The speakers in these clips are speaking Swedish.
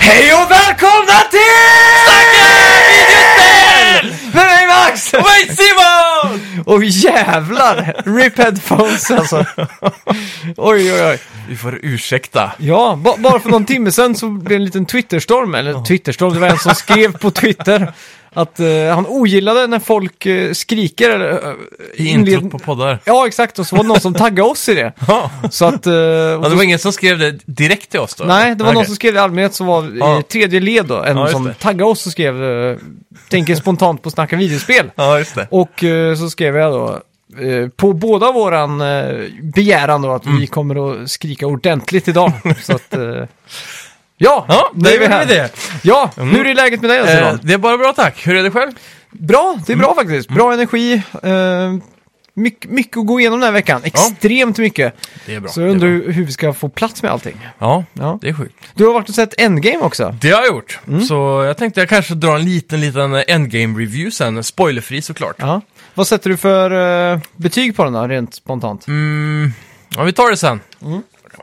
Hej och välkomna till Snacka videospel! Med mig Max! Och mig Simon! Och jävlar! RIP headphones alltså. Oj, oj, oj. Du får ursäkta. Ja, ba- bara för någon timme sedan så blev det en liten Twitterstorm, eller Twitterstorm, det var en som skrev på Twitter att eh, han ogillade när folk eh, skriker eller... eh, I inled- introt på poddar. Ja, exakt, och så var det någon som taggade oss i det. Ja, Så att... eh, och det så- var ingen som skrev det direkt till oss då? Nej, det var någon Okej. som skrev i allmänhet som var i Ja. tredje led då, en Ja, just som det. taggade oss och skrev, eh, tänker spontant på Snacka videospel. Ja, just det. Och eh, så skrev jag då, eh, på båda våran eh, begäran då, att Mm. vi kommer att skrika ordentligt idag. så att, eh, ja, Ja, nu där är vi gjorde här. vi det. Mm. Ja, hur är läget med dig alltså, Eh, mm. Simon? det är bara bra tack. Hur är det själv? Bra, det är bra faktiskt. Bra energi. Eh, mycket, mycket att gå igenom den här veckan, extremt mycket. Det är bra. Så jag undrar hur vi ska få plats med allting. Ja, Ja. det är sjukt. Du har varit och sett Endgame också. Det har jag gjort. Mm. Så jag tänkte jag kanske drar en liten, liten endgame-review sen. Spoilerfri såklart. Ja. Vad sätter du för eh, betyg på den då, rent spontant? Mm, ja, vi tar det sen.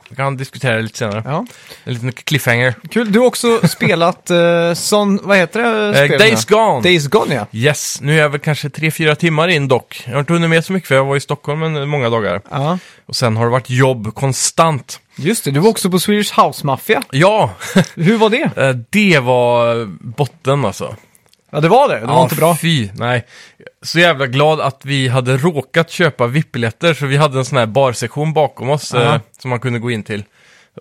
Vi kan diskutera det lite senare. Mm. Ja. En liten cliffhanger. Kul, du har också spelat eh, sån, vad heter det? Eh, spelen? Days Gone. Days Gone ja. Yes, nu är jag väl kanske 3-4 timmar in dock. Jag har inte hunnit med så mycket för jag var i Stockholm en, många dagar. Ja, Och sen har det varit jobb konstant. just det. Du var också på Swedish House Mafia. Ja, Hur var det? eh, det var botten alltså. Ja, det var det. Det var ja, inte bra. Fy, nej. Så jävla glad att vi hade råkat köpa VIP-biljetter så vi hade en sån här barsektion bakom oss Ja. eh, som man kunde gå in till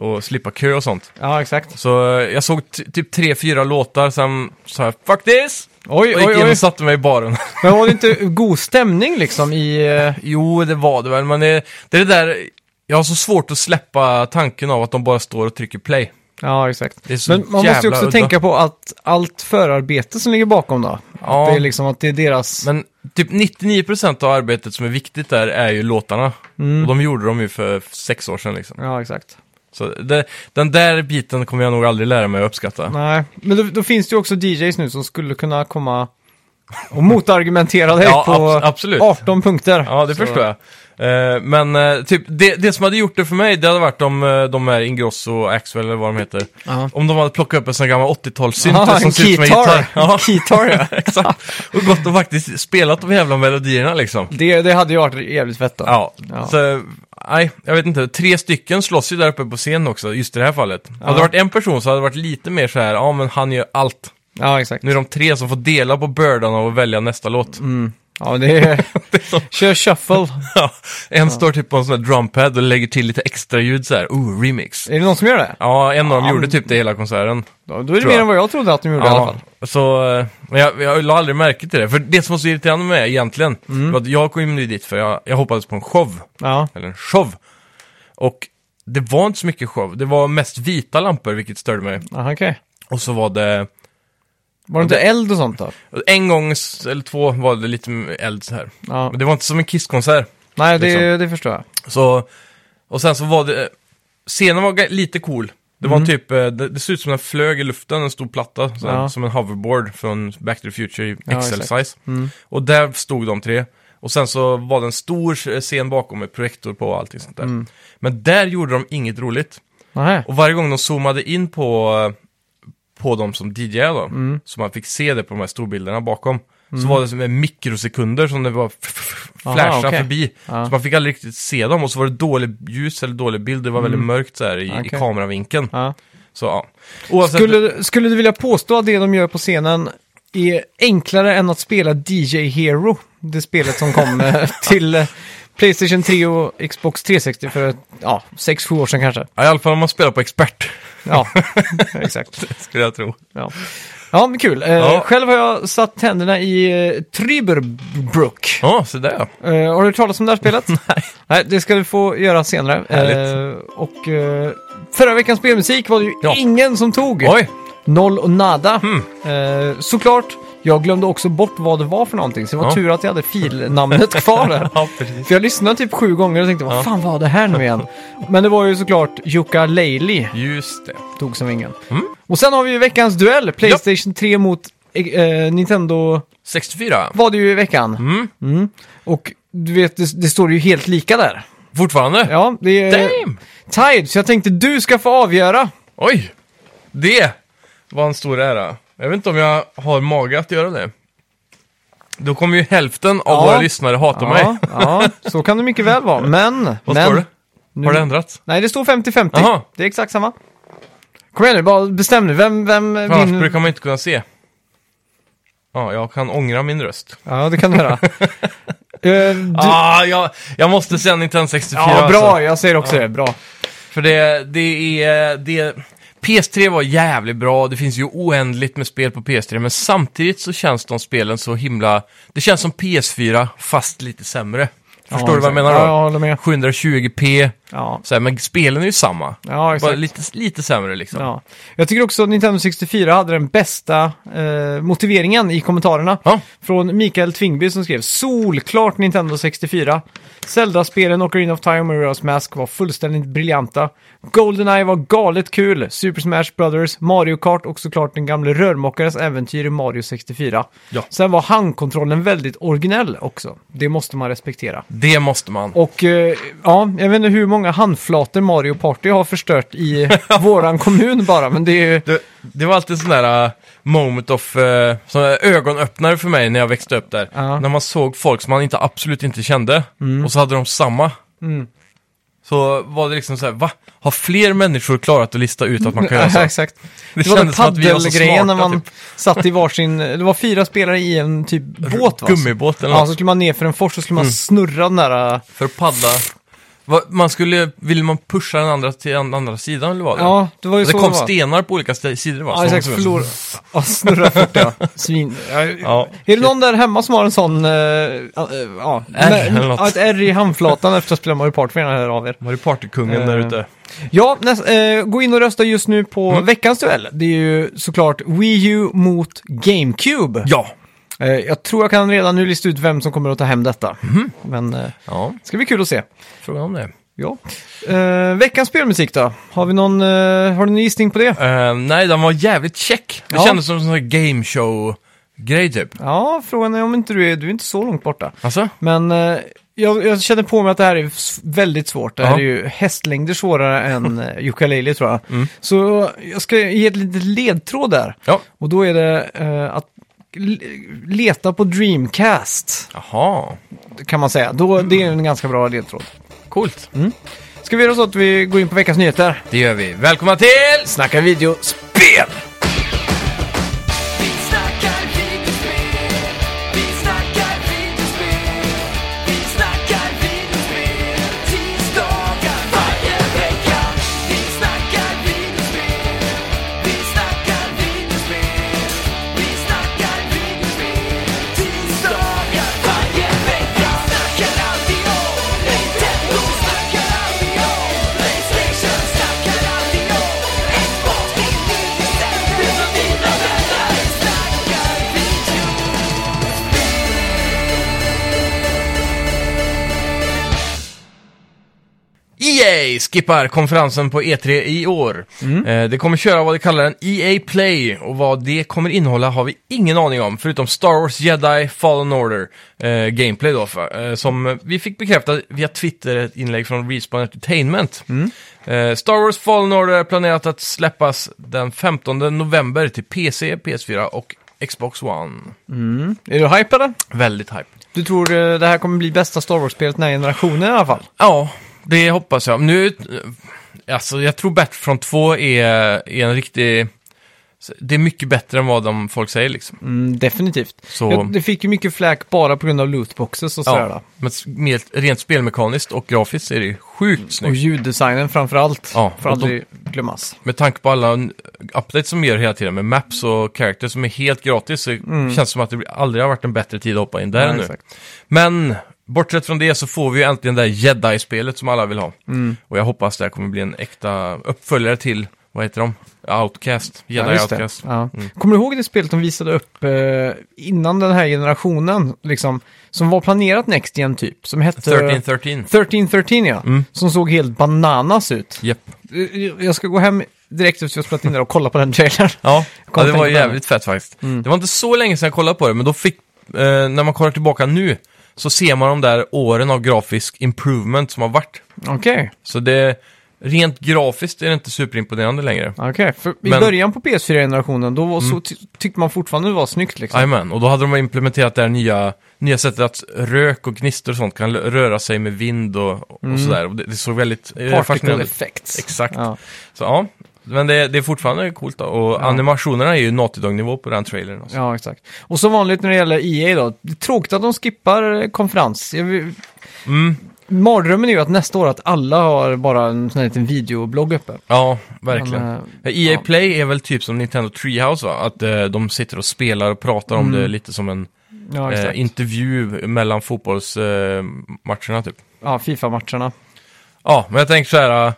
och slippa kö och sånt. Ja, exakt. Så eh, jag såg ty- typ tre, fyra låtar, sen sa jag 'Fuck this!' Oj, och gick oj, in oj. och satte mig i baren. Men var det inte god stämning liksom i... eh, Jo, det var det väl, men det, det är det där... Jag har så svårt att släppa tanken av att de bara står och trycker play. Ja, exakt. Det är så Men man måste ju jävla också udda. tänka på att allt förarbete som ligger bakom då. Ja. Att det är liksom att det är deras... Men typ 99% av arbetet som är viktigt där är ju låtarna. Mm. Och de gjorde de ju för sex år sedan liksom. Ja, exakt. Så det, den där biten kommer jag nog aldrig lära mig att uppskatta. Nej, men då, då finns det ju också DJs nu som skulle kunna komma och motargumentera dig Ja, på abs- absolut. 18 punkter. Ja, det Så- förstår jag. Eh, men eh, typ, det, det som hade gjort det för mig, det hade varit om eh, de här Ingrosso och Axwell eller vad de heter. Ja. Om de hade plockat upp en sån gammal 80-talssynt Ja, som en ser ut som en gitarr. Ah, keytar. Ja, Keytar, ja. exakt. Och gått och faktiskt spelat de jävla melodierna liksom. Det, det hade ju varit jävligt fett då. Ja, Ja. så nej, jag vet inte. Tre stycken slåss ju där uppe på scen också, just i det här fallet. Hade det varit en person så hade det varit lite mer så här, ja men han gör allt. Ja, exakt. Nu är de tre som får dela på bördan av att välja nästa låt. Mm. Ja, det är... Kör shuffle. Ja, en står typ på en sån här drumpad och lägger till lite extra ljud så här, oh, remix. Är det någon som gör det? Ja, en av dem Ja, gjorde men- typ det hela konserten. Då är det Tror mer jag. än vad jag trodde att de gjorde i alla fall. Så, eh, men jag, jag la aldrig märke till det. För det som var så irriterande med det egentligen, Mm. var att jag kom ju dit för jag, jag hoppades på en show. Ja, eller en show. Och det var inte så mycket show. Det var mest vita lampor, vilket störde mig. Aha, okej. Och så var det... Var det inte eld och sånt då? En gång, s- eller två, var det lite eld så här. Ja. Men det var inte som en Kiss-konsert. Nej, det, liksom. det förstår jag. Så... Och sen så var det... Scenen var ga- lite cool. Det Mm. var typ... eh, Det, det såg ut som den flög i luften, en stor platta. Så här, Ja. Som en hoverboard från Back to the Future i Ja, Mm. XL-size. Och där stod de tre. Och sen så var det en stor scen bakom med projektor på och allting sånt där. Mm. Men där gjorde de inget roligt. Nej. Och varje gång de zoomade in på, på dem som DJ då, Mm. så man fick se det på de här storbilderna bakom, så var det som en mikrosekunder som det var f- f- f- Aha, flashade okej. förbi. Ja. Så man fick aldrig riktigt se dem och så var det dålig ljus eller dålig bild, det var väldigt mörkt så här i, i Mm. Okej. kameravinkeln. Ja. Så ja. Oavsett, Skulle, skulle du vilja påstå att det de gör på scenen är enklare än att spela DJ Hero? Det spelet som kom eh, till eh, Playstation 3 och Xbox 360 för ett, ja, 6-7 år sedan kanske. ja, i alla fall om man spelar på expert, Ja, exakt. skulle jag tro. Ja, ja men kul. Eh, Ja. Själv har jag satt tänderna i eh, Tryberbrook. Ja, så där ja. Eh, har du hört talas om det här spelet? Nej. Nej, det ska du få göra senare. Härligt. Eh, och eh, förra veckans spelmusik var det ju Ja. ingen som tog. Oj, Noll och nada. Hmm. Eh, såklart, jag glömde också bort vad det var för någonting, så det var Ja. tur att jag hade filnamnet kvar där. ja precis. För jag lyssnade typ sju gånger och tänkte, vad Ja. fan var det här nu igen? Men det var ju såklart Jukka Leili Just det. tog som ingen. Mm. Och sen har vi ju veckans duell, Playstation 3 mot eh, Nintendo 64, var det ju i veckan. Mm. Och du vet, det, det står ju helt lika där. fortfarande? Ja, det är eh, Damn! tied, så jag tänkte du ska få avgöra. Oj! Det! var en stor ära. Jag vet inte om jag har mage att göra det. Då kommer ju hälften av Ja. våra lyssnare hata mig. Ja, ja, så kan det mycket väl vara. Men... Vad men, står det? Nu, Har det ändrats? Nej, det står 50-50. Jaha. Det är exakt samma. Kom igen nu, bara bestäm nu. Vem, vem För annars vinner? brukar man inte kunna se. Ja, jag kan ångra min röst. Ja, det kan du göra. Eh, du... Ah, jag, jag måste säga Nintendo 64 ja, bra. Alltså. Jag säger också det. Bra. För det, det är... Det, PS3 var jävligt bra, det finns ju oändligt med spel på PS3, men samtidigt så känns de spelen så himla... Det känns som PS4, fast lite sämre. Förstår ja, du vad jag exakt. menar då? Ja, jag håller med. 720p, Ja, så här, men spelen är ju samma. ja Bara exakt. lite, lite sämre liksom. Ja. Jag tycker också att Nintendo 64 hade den bästa eh, motiveringen i kommentarerna. Ja. Från Mikael Tvingby som skrev Solklart Nintendo 64. Zelda-spelen Ocarina of Time och Majora's Mask var fullständigt briljanta. Goldeneye var galet kul. Super Smash Brothers, Mario Kart och såklart den gamle rörmokarens äventyr i Mario 64. Ja. Sen var handkontrollen väldigt originell också. Det måste man respektera. Det måste man. Och eh, ja, jag vet inte hur många handflator Mario Party har förstört i våran kommun bara, men det är ju... Det, det var alltid sån där äh, moment of, uh, sån där ögonöppnare för mig när jag växte upp där. Ja. Mm. När man såg folk som man inte, absolut inte kände och så hade de samma. Så var det liksom så här, va? Har fler människor klarat att lista ut att man kan göra så? Ja, Det, alltså. exakt. Det, var den kändes som att vi var så paddelgrejen när smarta, man typ. satt i varsin... Det var fyra spelare i en typ båt va? Gummibåt eller Ja, något. så skulle man ner för en fors och skulle man Mm. snurra den där... äh, För att paddla. Va, man skulle, vill man pusha den andra till den andra sidan eller vad? Ja, det var ju det så kom det var. stenar på olika st- sidor va? Ja, Så- exakt. så- Förlora... Ja, snurra fort ja. Svin... Ja, Ja. Är det någon där hemma som har en sån... eh, ja, eh, ja, Äh, eller Nej, något. ja, ett ärr i handflatan efter att spela Mario Party får gärna höra av er. Var det partykungen Eh, där ute? Ja, näs- eh, gå in och rösta just nu på Mm. veckans duell. Det är ju såklart Wii U mot GameCube. Ja. Eh, jag tror jag kan redan nu lista ut vem som kommer att ta hem detta. Men eh, Ja, det ska bli kul att se. frågan om det. Ja. Eh, veckans spelmusik då? Har, vi någon, eh, har du någon gissning på det? Eh, nej, den var jävligt check. Det Ja. kändes som en sån här game show-grej typ. Ja, frågan är om inte du är, du är inte så långt borta. Alltså? Men eh, jag, jag känner på mig att det här är s- väldigt svårt. Det här Ja. är ju hästlängder svårare än eh, ukulele tror jag. Så jag ska ge ett litet ledtråd där. Ja. Och då är det eh, att l- leta på Dreamcast, Jaha, kan man säga. Då, Det är en ganska bra ledtråd. coolt. Mm. Ska vi göra så att vi går in på veckans nyheter? Det gör vi. Välkomna till... Snacka videospel! Vi snackar videospel, vi snackar videospel, vi snackar videospel, tisdagar varje vecka. Vi snackar videospel, vi snackar videospel, vi snackar videospel, tisdagar varje vecka. Snackar alltid om Nintendo, snackar alltid om Playstation, snackar alltid om Xbox, Nintendo, Nintendo, Nintendo, Nintendo, snackar video. EA E skippar konferensen på E3 i år. Eh, det kommer köra vad de kallar en EA Play och vad det kommer innehålla har vi ingen aning om, förutom Star Wars Jedi Fallen Order eh, Gameplay då, för, eh, som vi fick bekräftat via Twitter, ett inlägg från Respawn Entertainment. Eh, Star Wars Fallen Order är planerat att släppas den 15 november till PC, PS4 och Xbox One. Är du hype eller? Väldigt hype. Du tror eh, det här kommer bli bästa Star Wars-spelet den här generationen i alla fall? Ja, det hoppas jag. Nu, eh, alltså jag tror Battlefront 2 är, är en riktig... Det är mycket bättre än vad de folk säger liksom. Mm, definitivt. Så- Jag, det fick ju mycket fläk bara på grund av lootboxes och sådär. Ja, då. men s- mer, rent spelmekaniskt och grafiskt är det ju sjukt Och snyggt. ljuddesignen framför allt. Ja, får och de- aldrig glömmas. Med tanke på alla n- updates som gör hela tiden med maps och characters som är helt gratis så känns det som att det aldrig har varit en bättre tid att hoppa in där Mm. Nej, nu. exakt. Men bortsett från det så får vi ju äntligen det där Jedi-spelet som alla vill ha. Mm. Och jag hoppas det här kommer bli en äkta uppföljare till, vad heter de? Outcast. Jedi Ja, just det. Outcast. Mm. Ja. Kommer du ihåg det spelet de visade upp eh, innan den här generationen? Liksom, som var planerat Next Gen typ. Som hette 1313. 1313 ja. Mm. Som såg helt bananas ut. Japp. Eh, Jag ska gå hem direkt efter att jag spelat in det och kolla på den trailern. Ja, kom ja att det tänka var på det. jävligt fett faktiskt. Mm. Det var inte så länge sedan jag kollade på det, men då fick, eh, när man kollar tillbaka nu, så ser man de där åren av grafisk improvement som har varit. Okej. Så det, Rent grafiskt är det inte superimponerande längre. Okej, för i Men- början på PS4-generationen då var- så ty- tyckte man fortfarande det var snyggt liksom. Jajamän, och då hade de implementerat det här nya, nya sättet att rök och gnistor och sånt kan l- röra sig med vind och, och sådär. Och det, det såg väldigt eh, Particle fascinerande ut. effects. Exakt. Mm. Ja. Så ja, men det, det är fortfarande coolt då. Och animationerna är ju Naughty Dog-nivå på den trailern. Alltså. ja, exakt. Och som vanligt när det gäller EA då, det är tråkigt att de skippar eh, konferens. Jag vill... Mm. Mardrömmen är ju att nästa år att alla har bara en sån här liten videoblogg uppe. Ja, verkligen. Men, eh, EA ja. Play är väl typ som Nintendo Treehouse va? Att eh, de sitter och spelar och pratar om det lite som en Mm. Ja, exakt. eh, intervju mellan fotbollsmatcherna typ. Ja, Fifa-matcherna. Ja, men jag tänker så här.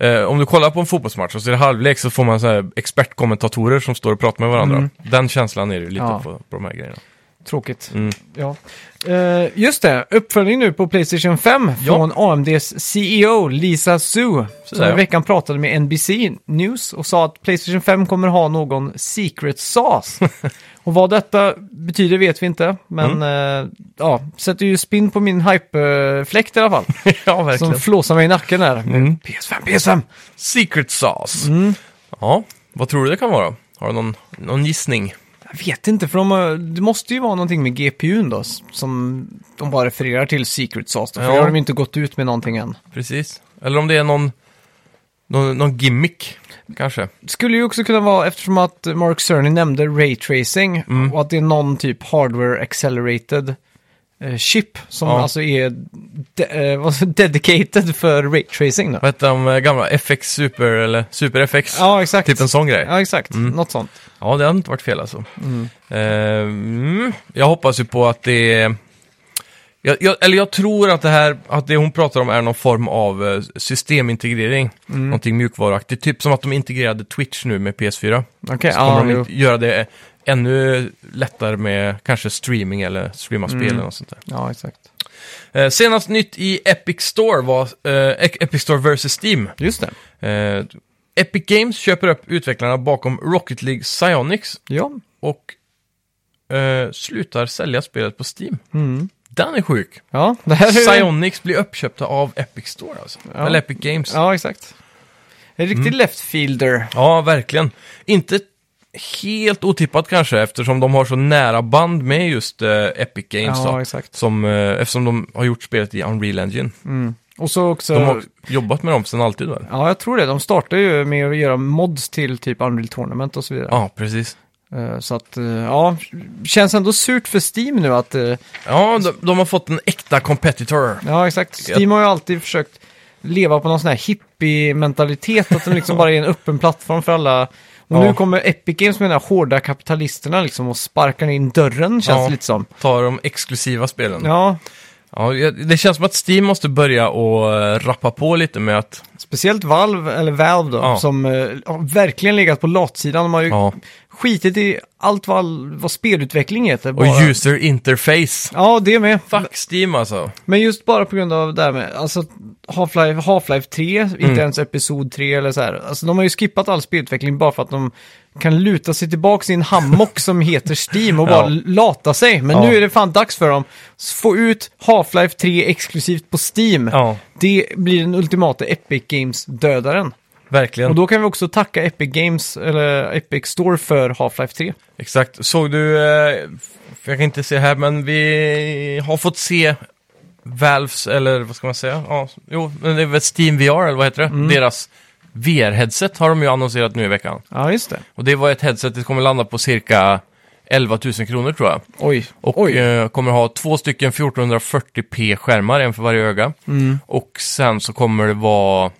Eh, om du kollar på en fotbollsmatch och så är det halvlek så får man så här expertkommentatorer som står och pratar med varandra. Den känslan är det ju lite Mm. Ja. på, på de här grejerna. Tråkigt. Mm. Ja. Eh, just det, uppföljning nu på Playstation 5 Ja. från AMDs CEO E Lisa Su. Som där, i ja. veckan pratade med NBC News och sa att Playstation 5 kommer ha någon secret sauce. och vad detta betyder vet vi inte, men Mm. eh, ja, sätter ju spinn på min hype-fläkt i alla fall. ja, som verkligen. Mm. flåsar mig i nacken här. PS5, PS5! Secret sauce. Mm. Ja, vad tror du det kan vara? Har du någon, någon gissning? Jag vet inte, för de, har- det måste ju vara någonting med GPUn då, s- som de bara refererar till Secret Sauce då, för Ja. det har de ju inte gått ut med någonting än. Precis. Eller om det är någon, någon, någon gimmick, kanske. Skulle ju också kunna vara, eftersom att Mark Cerny nämnde Ray Tracing, Mm. och att det är någon typ hardware accelerated eh, chip som Ja. alltså är de, eh, vad- dedicated för Ray Tracing då. Vad hette de eh, gamla? FX Super eller Super FX? Ja, exakt. Typ en sån grej. Ja, exakt. Något sånt. Ja, det hade inte varit fel alltså. Eh, mm. jag hoppas ju på att det är... Jag, jag, eller jag tror att det här, att det hon pratar om är någon form av eh, systemintegrering. Mm. Någonting mjukvaruaktigt. Typ som att de integrerade Twitch nu med PS4. Okej, Så kommer ja, de jo. inte göra det ännu lättare med kanske streaming eller streama Mm. spel eller något sånt där. ja, exakt. Eh, senast nytt i Epic Store var eh, Ec- Epic Store vs. Steam. Just det. Eh, Epic Games köper upp utvecklarna bakom Rocket League Psyonix Ja. och eh, slutar sälja spelet på Steam. Den är sjuk. mm. Ja, det här är Psyonix blir uppköpta av Epic Store alltså. Ja. Eller Epic Games. Ja. Ja, exakt. En riktig Mm. left fielder. verkligen. Inte helt otippat kanske eftersom de har så nära band med just eh, Epic Games. Ja, då. exakt. Som, eh, eftersom de har gjort spelet i Unreal Engine. Och så också... De har jobbat med dem sedan alltid väl? Ja, jag tror det. De startar ju med att göra mods till typ Unreal Tournament och så vidare. Ja, precis. Eh, Så att, eh, ja, känns ändå surt för Steam nu att, eh, Ja, de, de har fått en äkta competitor. ja exakt, Steam har ju alltid försökt leva på någon sån här hippie-mentalitet, att de liksom bara är en öppen plattform för alla. Och Ja. nu kommer Epic Games med de här hårda kapitalisterna liksom och sparkar in dörren, känns Ja. det lite som. Tar de exklusiva spelen. Ja, Ja, jag- det känns som att Steam måste börja och eh, rappa på lite med att... speciellt Valve, eller Valve då, Ja. som eh, har verkligen legat på latsidan. De har ju Ja. skitit i allt vad, vad spelutveckling heter. Och bara. user interface. Ja, det med. Fuck Steam alltså. Men just bara på grund av det här med, alltså Half-Life, Half-Life 3, Mm. inte ens Episod 3 eller så här. Alltså de har ju skippat all spelutveckling bara för att de kan luta sig tillbaka i en hammock som heter Steam och bara Ja. lata sig. Men Ja. nu är det fan dags för dem. S- Få ut Half-Life 3 exklusivt på Steam. Ja, Det blir den ultimata Epic Games-dödaren. verkligen. Och då kan vi också tacka Epic Games, eller Epic Store för Half-Life 3. Exakt. Såg du... eh, f- Jag kan inte se här, men vi har fått se Valves, eller vad ska man säga? Ja, jo, men det är väl Steam VR, eller vad heter det? Mm. Deras VR-headset har de ju annonserat nu i veckan. Ja, just det. Och det var ett headset, det kommer landa på cirka 11 000 kronor tror jag. Oj. Och Oj. eh, kommer ha två stycken 1440p-skärmar, en för varje öga. Mm. Och sen så kommer det vara...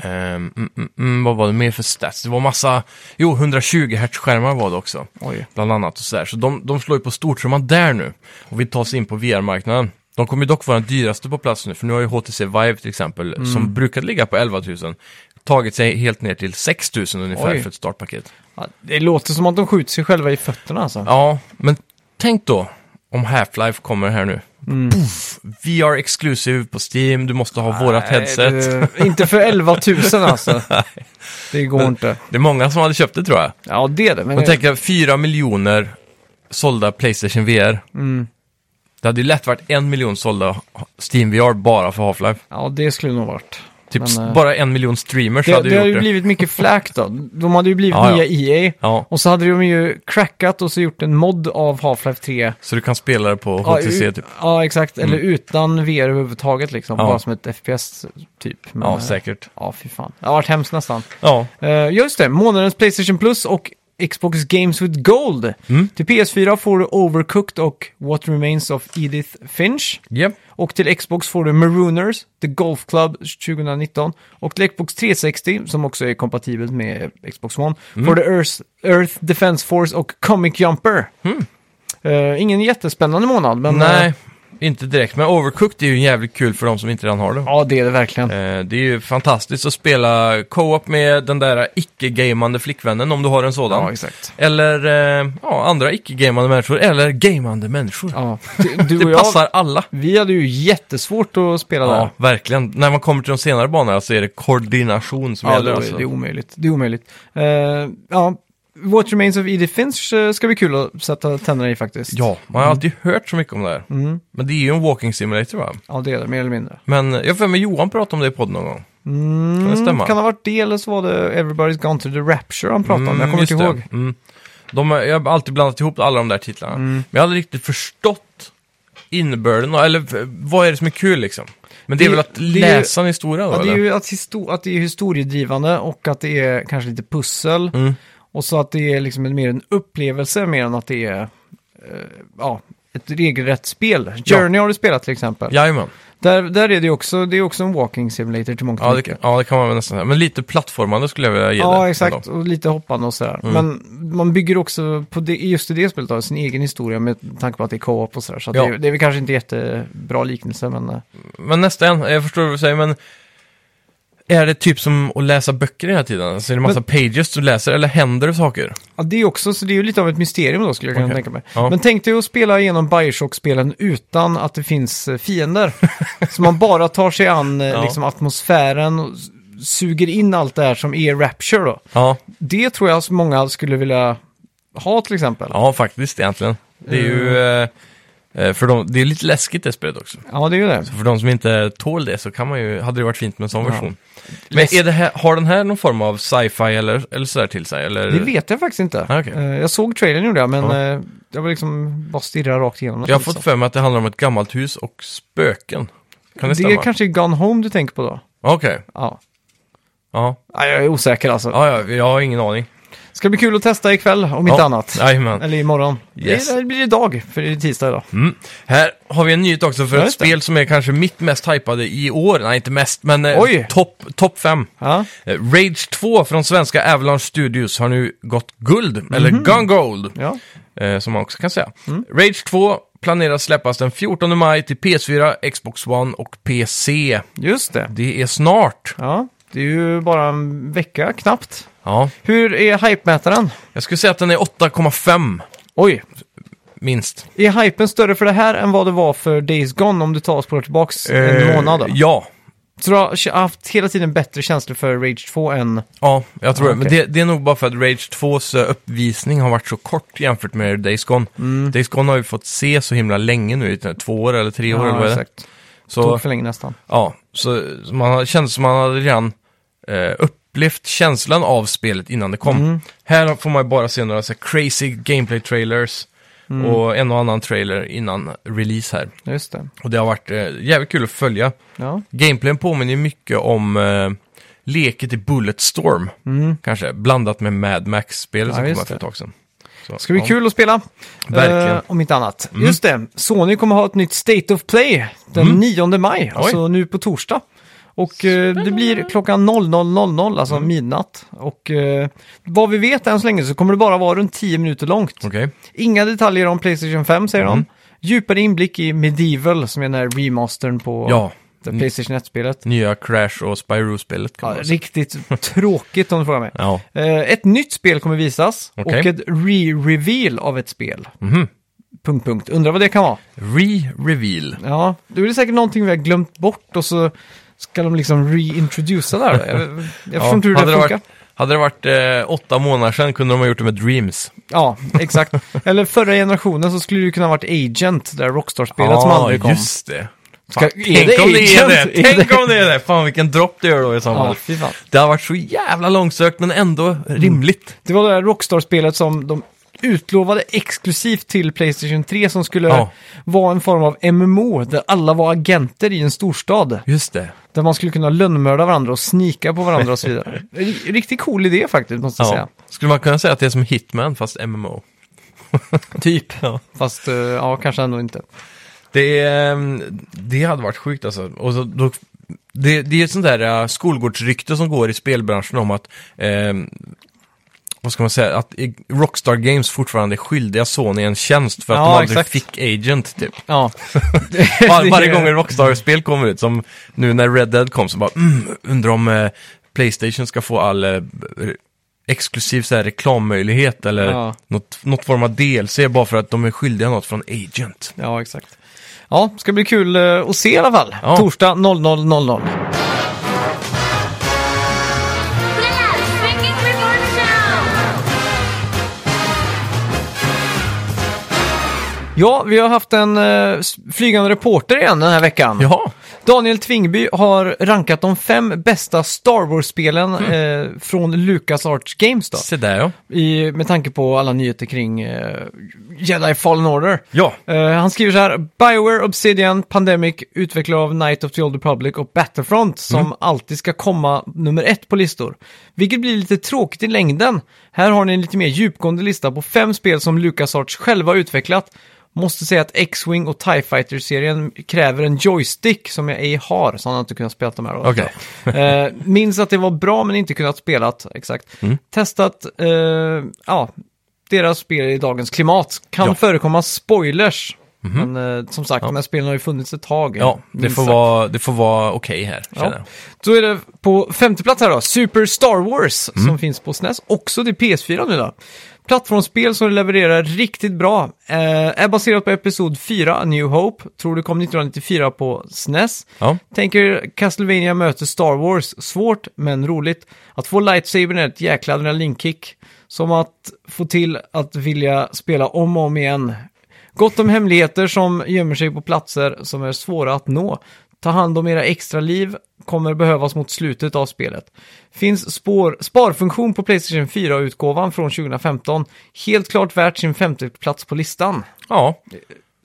ehm, mm, mm, mm, vad var det mer för stats? Det var massa... Jo, 120 Hz-skärmar var det också. Oj. Bland annat och sådär. Så de, de slår ju på stortrumman där nu. Och vill ta sig in på VR-marknaden. De kommer ju dock vara den dyraste på plats nu. För nu har ju HTC Vive till exempel, Mm. som brukade ligga på 11 000, tagit sig helt ner till 6 000 ungefär Oj. för ett startpaket. Ja, det låter som att de skjuter sig själva i fötterna alltså. Ja, men tänk då om Half-Life kommer här nu. Mm. Poof, VR exclusive på Steam, du måste ha vårat Nej, headset. Det... du, inte för 11 000 alltså. det går inte. är många som hade köpt det tror jag. Ja, det är det. Men Men tänk tänk 4 miljoner sålda Playstation VR. Mm. Det hade ju lätt varit en miljon sålda Steam VR bara för Half-Life. ja, det skulle nog varit. Typ Men, eh, bara en miljon streamers Det, hade det ju har gjort ju det. blivit mycket flack då. De hade ju blivit Ja, ja. nya EA. Ja, Och så hade de ju crackat och så gjort en mod av Half-Life 3. så du kan spela det på Ja, HTC ut- typ. ja, exakt. Eller utan VR överhuvudtaget liksom. Ja. Bara som ett FPS typ. Men, Ja, eh, säkert. Ja, fy fan. Det har varit hemskt nästan. Ja, Eh, just det, månadens Playstation Plus och Xbox Games with Gold. Mm. Till PS4 får du Overcooked och What Remains of Edith Finch. yep. Och till Xbox får du Marooners, The Golf Club 2019. Och till Xbox 360, som också är kompatibelt med Xbox One, Mm. får du Earth, Earth Defense Force och Comic Jumper. Eh, ingen jättespännande månad, men... eh, Hmm. Nej, inte direkt. Men Overcooked är ju jävligt kul för de som inte redan har det. ja, det är det verkligen. Eh, Det är ju fantastiskt att spela co-op med den där icke-gamande flickvännen om du har en sådan. Ja, exakt. Eller eh, ja, andra icke-gamande människor, eller gamande människor. Ja, du, du och det jag, passar alla. vi hade ju jättesvårt att spela där. Ja, verkligen. När man kommer till de senare banorna så är det koordination som Ja, det, gäller. är- Alltså. det är omöjligt. Det är omöjligt. Eh, ja, What Remains of Edith Finch eh, ska bli kul att sätta tänderna i faktiskt. ja, man har Mm. alltid hört så mycket om det här. Men det är ju en walking simulator va? Ja, det är det, mer eller mindre. Men jag har för mig Johan pratade om det i podden någon gång. Mm, Kan det stämma? Kan ha varit det, eller så var det Everybody's Gone to the Rapture han pratade om. Jag kommer just inte det. ihåg. Mm. De, har- jag har alltid blandat ihop alla de där titlarna. Mm. Men jag har aldrig riktigt förstått innebörden, och- eller v- vad är det som är kul liksom? Men det, är Det- väl att det är ju- läsa en historia då, Ja, det är eller? ju att, histo- att det är historiedrivande och att det är kanske lite pussel. Mm. Och så att det är liksom en, mer en upplevelse mer än att det är eh, ja, ett regelrätt spel. Journey har du spelat till exempel. Jajamän. Där, där är det ju också, det är också en walking simulator till mångt och Ja det, mycket. kan- ja, det kan man väl nästan säga. Men lite plattformande skulle jag vilja ge Ja, det. exakt. ändå. Mm. Och lite hoppande och sådär. Men man bygger också, på det, just i det spelet, då, sin egen historia med tanke på att det är co-op och sådär. Så att Ja. det, är- det är väl kanske inte jättebra liknelse, men... eh, Men nästa en, jag förstår vad du säger, men är det typ som att läsa böcker hela tiden? Så är det massa pages du läser, eller händer det saker? Ja, det är också, så det är ju lite av ett mysterium då, skulle jag kunna Okej. tänka mig. Ja. Men tänk dig att spela igenom Bioshock-spelen utan att det finns eh, fiender. så man bara tar sig an eh, Ja. liksom, atmosfären och s- suger in allt det här som är Rapture då. Ja, Det tror jag så många skulle vilja ha till exempel. ja faktiskt egentligen. Det är ju... eh, eh, För de, det är lite läskigt det spelet också. Ja, det är ju det. För de som inte tål det så kan man ju, hade det varit fint med en sån Ja. version. Men är det här, har den här någon form av sci-fi eller, eller sådär till sig? Eller? Det vet jag faktiskt inte. Ah, okej. Eh, Jag såg trailern gjorde jag, men Ja. eh, jag var liksom bara stirrade rakt igenom den, Jag har liksom. fått för mig att det handlar om ett gammalt hus och spöken. Kan det, Det är stämma? kanske Gone Home du tänker på då? Okej, Ja. ja. Nej, jag är osäker alltså. Ja, ja, jag har ingen aning. Ska bli kul att testa ikväll, om inte ja. annat. Jajamän. Eller imorgon. Yes. Det, det blir idag, för det är tisdag idag. Mm. Här har vi en nyhet också för Ja, ett just det. spel som är kanske mitt mest hypade i år. Nej, inte mest, men eh, Oj. topp top fem. Ja. Eh, Rage 2 från svenska Avalanche Studios har nu gått guld, eller Mhm. gone gold. Ja. eh, som man också kan säga. Mm. Rage 2 planeras släppas den 14 maj till PS4, Xbox One och PC. just det. Det är snart. Ja. Det är ju bara en vecka knappt. Ja, Hur är hypemätaren? jag skulle säga att den är 8,5 Oj, minst. är hypen större för det här än vad det var för Days Gone om du tar oss på tillbaks en Eh, månad? Då? Ja, Så du har haft hela tiden bättre känslor för Rage 2 än... ja jag tror Ah, det. Men okej. det, det är nog bara för att Rage 2s uppvisning har varit så kort jämfört med Days Gone. Mm. Days Gone har ju fått se så himla länge nu, i två år eller tre år eller vad är det? exakt. Så, Tog för länge nästan. ja, så så man har- kändes som man hade redan eh, upplevt känslan av spelet innan det kom. Mm. Här får man ju bara se några så här crazy gameplay-trailers Mm. och en och annan trailer innan release här. Just det. Och det har varit eh, jävligt kul att följa. Ja. Gameplayen påminner ju mycket om eh, leket i Bulletstorm, kanske, blandat med Mad Max-spelet som Mm. Ja, kom just här för ett det. tag sedan. Så, Ska bli ja. kul att spela. Verkligen. Mm. Eh, om inte annat. Just det, Sony kommer ha ett nytt State of Play den 9 maj, alltså nu på torsdag. Och eh, det blir klockan 00.00, alltså Mm. midnatt. Och eh, vad vi vet än så länge så kommer det bara vara runt 10 minuter långt. Okej, Inga detaljer om Playstation 5 säger Mm. de. Djupare inblick i Medieval som är den här remastern på ja. Mm. det Playstation 1-spelet. Nya Crash och Spyro-spelet kan Ja, man säga. riktigt tråkigt om du frågar mig. Ja, Eh, Ett nytt spel kommer visas Okej. Mhm. och ett re-reveal av ett spel. Punkt, punkt. Undrar vad det kan vara. Re-Reveal. Ja, det är säkert någonting vi har glömt bort och så ska de liksom reintroducera det här. Jag, jag förstår inte hur det hade, det funkar. varit, hade det varit eh, åtta månader sedan kunde de ha gjort det med Dreams. Ja, exakt. Eller förra generationen så skulle det ju kunna ha varit Agent, det där Rockstar-spelet som Ja, aldrig kom. Ah, just det. Ska- är Tänk om det är Agent? det! Tänk om det är det! Fan vilken dropp det gör då i så Ja, fall. fy fan. Det har varit så jävla långsökt men ändå rimligt. Det var det här Rockstar-spelet som de utlovade exklusivt till Playstation 3 som skulle Ja. vara en form av MMO där alla var agenter i en storstad. Just det. Där man skulle kunna lönnmörda varandra och snika på varandra och så vidare. R- Riktigt cool idé faktiskt, måste jag Ja. säga. Skulle man kunna säga att det är som Hitman fast MMO? typ. Ja. Fast, eh, ja, kanske ändå inte. Det, ehm, det hade varit sjukt alltså. Och så, då, det, det är ett sånt där eh, skolgårdsrykte som går i spelbranschen om att, ehm, vad ska man säga, att i- Rockstar Games fortfarande är skyldiga Sony en tjänst för att Ja, de aldrig exakt. fick Agent typ. Ja. Var, varje gång ett Rockstar-spel kommer ut, som nu när Red Dead kom, så bara mm, undrar om eh, Playstation ska få all eh, re- exklusiv så här, reklammöjlighet eller Ja. något, något form av DLC bara för att de är skyldiga något från Agent. Ja, exakt. Ja, ska bli kul eh, att se i alla fall. Ja. Torsdag 00.00. Blast! Freaking Reborn Show! Ja, vi har haft en eh, s- flygande reporter igen den här veckan. Jaha, Daniel Tvingby har rankat de fem bästa Star Wars-spelen eh, från Lucas Arts Games då. se där ja. I, med tanke på alla nyheter kring eh, Jedi Fallen Order. Ja, Eh, han skriver så här, Bioware, Obsidian, Pandemic, utvecklare av Night of the Old Republic och Battlefront som alltid ska komma nummer ett på listor. Vilket blir lite tråkigt i längden. Här har ni en lite mer djupgående lista på fem spel som LucasArts själva har utvecklat. Måste säga att X-Wing och TIE Fighter-serien kräver en joystick som jag ej har, så han har inte kunnat spela de här. då. Okej. Eh, minns att det var bra men inte kunnat spela, exakt. Mm. Testat, eh, ja, deras spel i dagens klimat. Kan Ja. Mhm. förekomma spoilers. Men eh, som sagt, de här spelen har ju funnits ett tag. ja det, minst får sagt. vara, det får vara okej här, Mm, Ja. känner jag. Då är det på femte plats här då, Super Star Wars, Mm. som finns på SNES, också till PS4 nu då. Plattformsspel som levererar riktigt bra. Eh, är baserat på Episod 4, A New Hope, tror det kom 1994 på E SNES. Ja. Tänker Castlevania möter Star Wars. Svårt, men roligt. Att få lightsabern är ett jäkla adrenalinkick. Som att få till att vilja spela om och om igen. Gott om hemligheter som gömmer sig på platser som är svåra att nå. Ta hand om era extra liv kommer behövas mot slutet av spelet. Finns spår, sparfunktion på Playstation 4-utgåvan från 2015. Helt klart värt sin femte plats på listan. ja,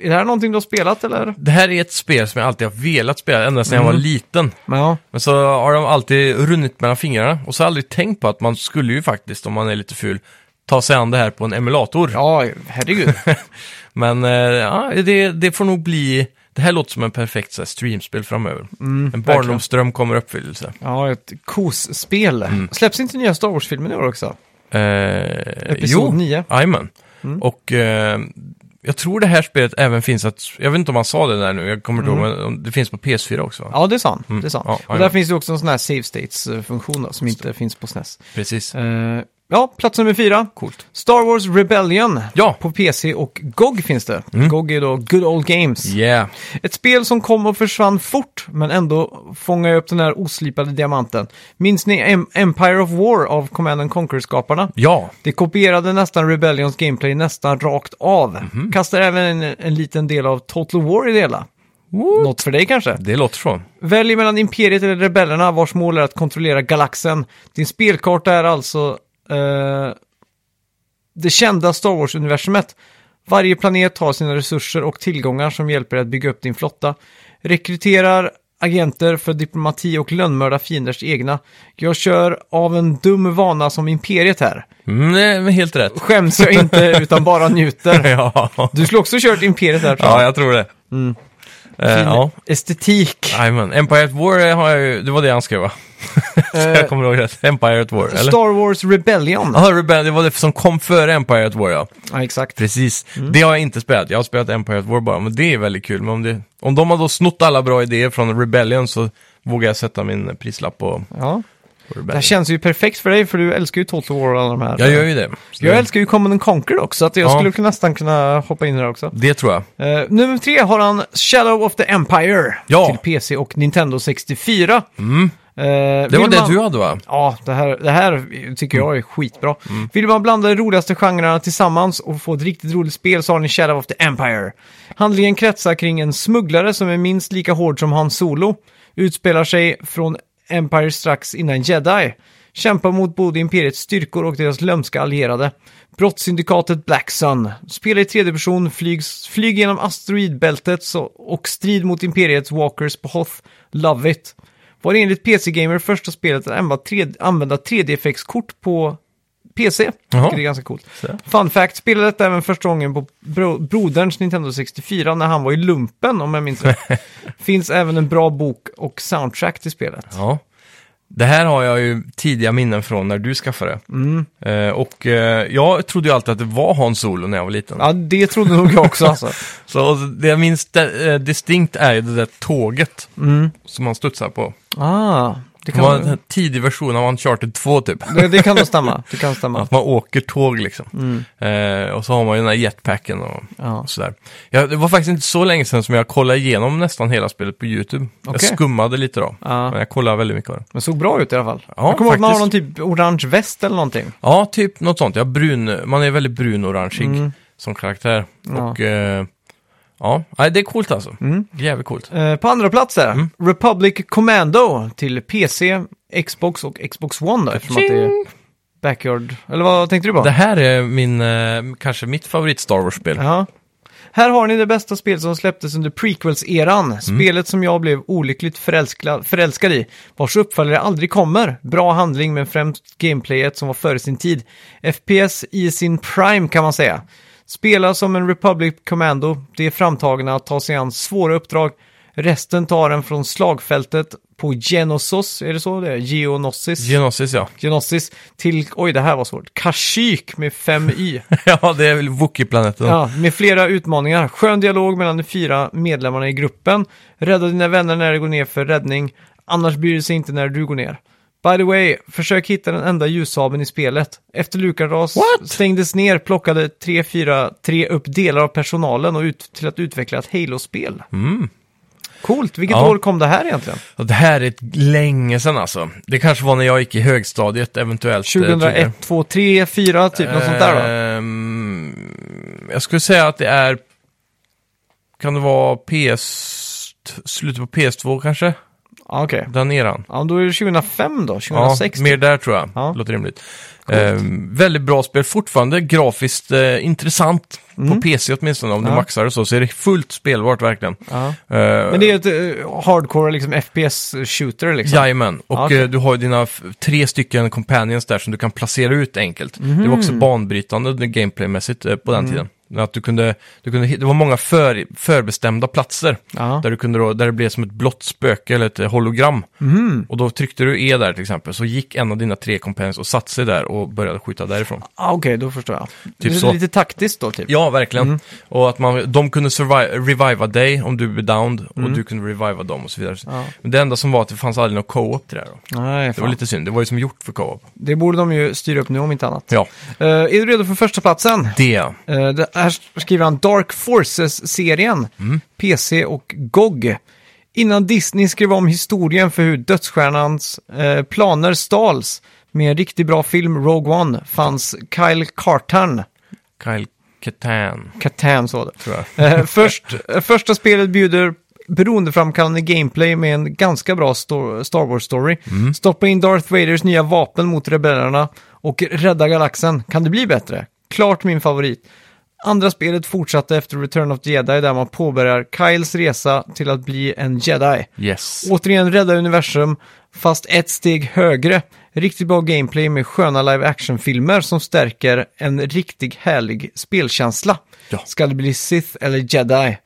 Är det här någonting du har spelat eller? det här är ett spel som jag alltid har velat spela, ända sedan Mm. jag var liten. Ja. Men så har de alltid runnit mellan fingrarna och så har jag aldrig tänkt på att man skulle ju faktiskt, om man är lite ful, ta sig an det här på en emulator. Ja, herregud. Men eh, ja, det, det får nog bli... Det här låter som en perfekt så här, streamspel framöver. Mm, en barndomsdröm kommer i uppfyllelse. Ja, ett kos-spel. Mm. Släpps inte nya Star Wars-filmen i år också? Eh, Episod Mm. jo, 9. Jajamän. Och eh, jag tror det här spelet även finns att... Jag vet inte om han sa det där nu, jag kommer inte ihåg, men om- det finns på PS4 också. va? Mm. Ja, det är sant. Det är sant. Mm. Ja, och där jajamän. finns det också en sån här Save States-funktion då, som inte finns på SNES. Precis. Eh, ja, plats nummer fyra. Coolt. Star Wars Rebellion. Ja. Mm. På PC och GOG finns det. GOG är då Good Old Games. Yeah. Ett spel som kom och försvann fort, men ändå fångar jag upp den här oslipade diamanten. Minns ni Em- Empire of War av Command and Conquer-skaparna? Ja. Det kopierade nästan Rebellions gameplay nästan rakt av. Kastar även en, en liten del av Total War i det hela. Något för dig kanske? Det låter så. Välj mellan Imperiet eller Rebellerna vars mål är att kontrollera galaxen. Din spelkarta är alltså eh, det kända Star Wars-universumet. Varje planet har sina resurser och tillgångar som hjälper dig att bygga upp din flotta. Rekryterar agenter för diplomati och lönnmörda fienders egna. Jag kör av en dum vana som Imperiet här Mm, nej, men helt rätt. skäms jag inte utan bara njuter. ja. Du skulle också kört Imperiet där tror ja, jag. jag tror det. Mm. Eh, ja. Estetik. Jajamän, Empire at War eh, har jag ju, det var det han skrev va? Så Eh, jag kommer ihåg rätt, Empire at War, eller? Star Wars Rebellion. Ja, Rebell, det var det som kom före Empire at War ja. Ja, exakt. Precis, Mm. det har jag inte spelat, jag har spelat Empire at War bara, men det är väldigt kul. Men om, det, om de har då snott alla bra idéer från Rebellion så vågar jag sätta min prislapp på, Ja. på Det här Rebellion. känns ju perfekt för dig för du älskar ju Total War och alla de här. Jag gör ju det. Så Jag det- älskar ju Common and Conquer också, att jag Ja. skulle kunna- nästan kunna hoppa in här också. Det tror jag. Eh, nummer tre har han Shadow of the Empire Ja. Mm. till PC och Nintendo 64. Det var det du hade va? Ja, det här, det här tycker jag är skitbra. Vill man blanda de roligaste genrerna tillsammans och få ett riktigt roligt spel så har ni Shadow of the Empire. Handlingen kretsar kring en smugglare som är minst lika hård som Han Solo. Utspelar sig från Empire strax innan Jedi. Kämpar mot både Imperiets styrkor och deras lömska allierade. Brottssyndikatet Black Sun. Spelar i tredje person, flygs, flyg genom asteroidbältet så, och strid mot Imperiets walkers på Hoth. Love it. Var enligt PC Gamer första spelet att använda 3D använda 3D-effektskort på PC. Jaha. Det är ganska coolt. Fun fact, spelade detta även första gången på bro broderns Nintendo 64 när han var i lumpen om jag minns rätt. Finns även en bra bok och soundtrack till spelet. Ja. Det här har jag ju tidiga minnen från när du skaffade det. Mm. Eh, och eh, jag trodde ju alltid att det var Hans Solo när jag var liten. Ja, det trodde nog jag också alltså. Så och det jag minns de- eh, distinkt är ju det där tåget Mm. som man studsar på. Ah, det Det kan, var en tidig version av Uncharted 2 typ. det, det kan nog stämma. Det kan stämma. Att man åker tåg liksom. Mm. Eh, och så har man ju den här jetpacken och, Ja. och sådär. Ja, det var faktiskt inte så länge sedan som jag kollade igenom nästan hela spelet på YouTube. Jag Okej. skummade lite då, Ja. men jag kollade väldigt mycket av det. Men såg bra ut i alla fall. Ja, jag kommer ihåg att man har någon faktiskt. typ orange väst eller någonting. Ja, typ något sånt. Ja, brun, man är väldigt brun-orangig som karaktär. Mm. Ja. Och eh, ja, Nej, det är coolt alltså. Jävligt coolt. Eh, på andra plats där, Republic Commando till PC, Xbox och Xbox One då, eftersom att det är backyard. Eller vad tänkte du på? Det här är min, eh, kanske mitt favorit Star Wars-spel. Ja. Här har ni det bästa spel som släpptes under prequels-eran. Spelet som jag blev olyckligt förälskla- förälskad i. Vars uppföljare aldrig kommer. Bra handling men främst gameplayet som var före sin tid. FPS i sin prime kan man säga. Spela som en Republic Commando. Det är framtagna att ta sig an svåra uppdrag. Resten tar en från slagfältet på Genosos, är det så det är? Geonosis? Genesis ja. Genosis till, oj det här var svårt, Kashyyyk med 5 i. ja, det är väl Wookie-planeten. Ja, med flera utmaningar. Skön dialog mellan de fyra medlemmarna i gruppen. Rädda dina vänner när de går ner för räddning. Annars bryr de sig inte när du går ner. By the way, försök hitta den enda ljussabeln i spelet. Efter Lukaras What? stängdes ner plockade 343 upp delar av personalen och ut till att utveckla ett Halo-spel. Coolt, vilket Mm. Ja. år kom det här egentligen? Och det här är ett länge sedan alltså. Det kanske var när jag gick i högstadiet eventuellt. eh, tidigare. 2001, 2, 3, 4, typ något sånt där Eh. va? Ehm, Jag skulle säga att det är... Kan det vara PS... Slutet på PS2 kanske? Ja, okej. Den eran. Ja, då är det 2005 då, Ja, 2006. mer där tror jag. Ja. Låter rimligt. Ehm, väldigt bra spel, fortfarande grafiskt eh, intressant. På PC åtminstone, om du Mm. Ja. maxar och så, så är det fullt spelbart verkligen. Ja. Ehm, Men det är ett eh, hardcore liksom FPS-shooter liksom. Jajamän, och Ja, okej. eh, du har ju dina f- tre stycken companions där som du kan placera ut enkelt. Mhm. Det var också banbrytande det gameplaymässigt eh, på den tiden. Men Att du kunde, du kunde, hit- det var många för, förbestämda platser Ja. där, du kunde då, där det blev som ett blått spöke eller ett eh, hologram. Mhm. Och då tryckte du E där till exempel, så gick en av dina tre companions och satte sig där och började skjuta därifrån. Ah, Okej, då förstår jag. det är Typ så. Lite taktiskt då typ. Ja, verkligen. Och att man, de kunde survive, reviva dig om du blev downed och du kunde reviva dem och så vidare. Mhm. Ja. Men det enda som var att det fanns aldrig något co-op till det här. Då. Nej, Det fan. var Det, lite synd, det var ju som gjort för co-op. borde de ju styra upp nu om inte annat. Ja, Eh, är du redo för första platsen? det. Eh, det här skriver han Dark Forces-serien, Mm. PC och GOG. Innan Disney skrev om historien för hur dödsstjärnans eh, planer stals med en riktigt bra film, Rogue One, fanns Kyle Cartan. Kyle Katan, Catan så var det. tror jag. Eh, först, eh, första spelet bjuder beroendeframkallande gameplay med en ganska bra sto- Star Wars-story. Mm. Stoppa in Darth Vaders nya vapen mot rebellerna och rädda galaxen. Kan det bli bättre? Klart min favorit. Andra spelet fortsatte efter Return of the Jedi där man påbörjar Kyles resa till att bli en jedi. Yes. Återigen rädda universum, fast ett steg högre. Riktigt bra gameplay med sköna live action-filmer som stärker en riktigt härlig spelkänsla. Ja. Ska det bli Sith eller Jedi?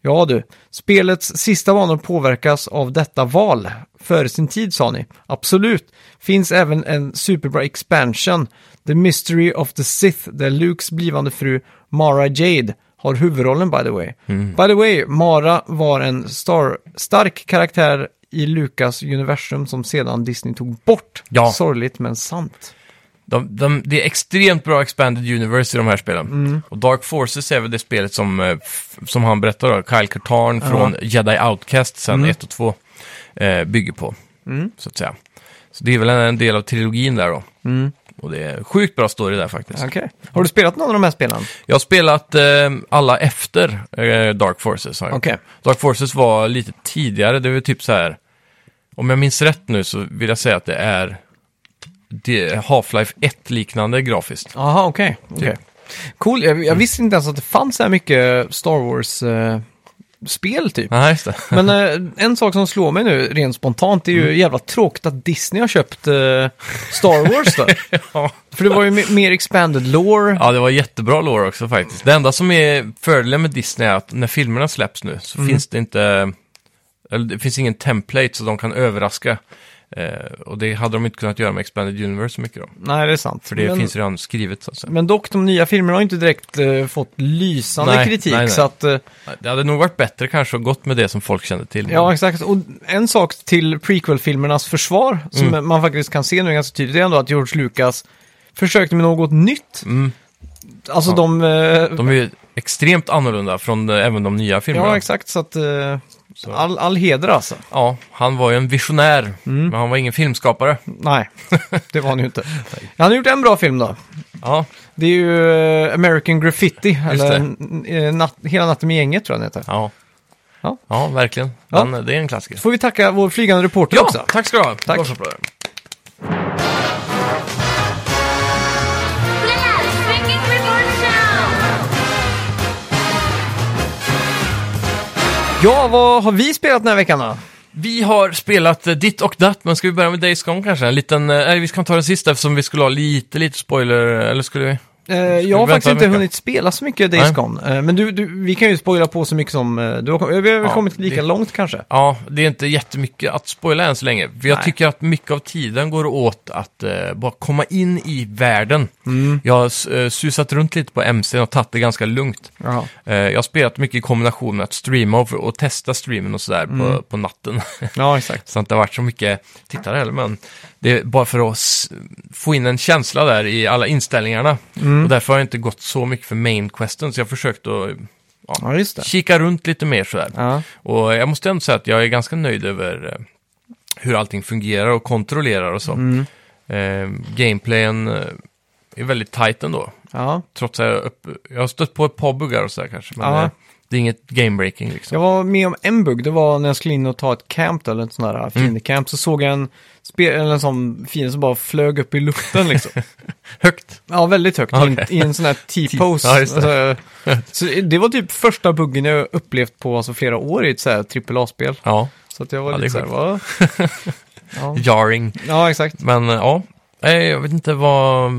Ja du, spelets sista banor påverkas av detta val. Före sin tid sa ni. Absolut. Finns även en superbra expansion, The Mystery of the Sith, där Lukes blivande fru Mara Jade har huvudrollen by the way. By the way, Mara var en star- stark karaktär i Lukas universum som sedan Disney tog bort. Ja. Sorgligt men sant. De, de, det är extremt bra expanded universe i de här spelen. Och Dark Forces är väl det spelet som, eh, f- som Mm. han berättar då, Kyle Katarn från Jedi Outcast sen 1 och 2 eh, bygger på. så att säga. Så det är väl en del av trilogin där då. Och det är sjukt bra story där faktiskt. Okej. Har du spelat någon av de här spelen? Jag har spelat eh, alla efter eh, Dark Forces. Har jag. Okej. Dark Forces var lite tidigare, det var typ så här. Om jag minns rätt nu så vill jag säga att det är det- Half-Life 1-liknande grafiskt. Jaha, okej. Okay. Typ. Mm. Cool, jag, jag visste inte ens att det fanns så här mycket Star Wars-spel typ. Nej, just det. Men eh, en sak som slår mig nu rent spontant det är ju Mm. jävla tråkigt att Disney har köpt eh, Star Wars då. Ja. För det var ju me- mer expanded lore. Ja, det var jättebra lår också faktiskt. Det enda som är fördelen med Disney är att när filmerna släpps nu så Mm. finns det inte, eller det finns ingen template så de kan överraska. Eh, och det hade de inte kunnat göra med Expanded Universe så mycket då. Nej, det är sant. För det men, finns redan skrivet så att säga. men dock, de nya filmerna har ju inte direkt eh, fått lysande Nej, kritik. nej, Mm. nej. Så att, eh, Det hade nog varit bättre kanske att gått med det som folk kände till. ja exakt. Och en sak till prequel-filmernas försvar, som Mm. man faktiskt kan se nu ganska tydligt, det är ändå att George Lucas försökte med något nytt. Mm. Alltså Ja. de... eh, De är ju extremt annorlunda från eh, även de nya filmerna. Ja, exakt. Så att... eh, All, all heder alltså. Ja, han var ju en visionär, men han var ingen filmskapare. Nej, det var han ju inte. Han har gjort en bra film då. Ja, Det är ju eh, American Graffiti, eller det. n- eh, natt, Hela natten med gänget tror jag den heter. ja. Ja. ja verkligen. Ja. Den, Det är en klassiker. Får vi tacka vår flygande reporter Ja, också. tack ska du ha. Tack. Varsågod. Blast Freaking Reborn Show! Ja, vad har vi spelat den här veckan då? Vi har spelat eh, ditt och datt, men ska vi börja med Days Gone kanske? En liten, eh, nej vi ska ta den sista eftersom vi skulle ha lite, lite spoiler, eller skulle vi? Eh, jag har vänta faktiskt en inte vecka? hunnit spela så mycket Days Nej. Gone. Eh, men du, du, vi kan ju spoila på så mycket som... eh, Du har, kom- vi har väl Ja, kommit lika det- långt kanske. Ja, det är inte jättemycket att spoila än så länge. För jag Nej. tycker att mycket av tiden går åt att eh, bara komma in i världen. Jag har eh, susat runt lite på MC och tagit det ganska lugnt. Jaha. Eh, jag har spelat mycket i kombination med att streama och, och testa streamen och sådär på, på natten. Ja, exakt. Så att det har varit så mycket tittare heller, men det är bara för att s- få in en känsla där i alla inställningarna. Och därför har jag inte gått så mycket för main questen, så jag har försökt att ja, Ja, just det. kika runt lite mer sådär. Ja. Och jag måste ändå säga att jag är ganska nöjd över eh, hur allting fungerar och kontrollerar och så. Mm. Eh, gameplayen eh, är väldigt tight ändå. Ja. Trots att jag, upp, jag har stött på ett par buggar och sådär kanske, men Ja. eh, det är inget game-breaking liksom. Typ. Jag var med om en bugg, det var när jag skulle in och ta ett camp då, eller ett sånt Mm. där fiendecamp, så såg jag en, spe- eller en sån fiende som bara flög upp i luften liksom. Högt! ja, väldigt högt, i, en, Okej. i en sån här T-pose. Ja, just det. Så det var typ första buggen jag upplevt på alltså, flera år i ett så här AAA-spel. Ja, Så att jag var Ja, det lite så är här, va? ja. jarring. ja, exakt. Men eh, ja, Nej, jag vet inte vad...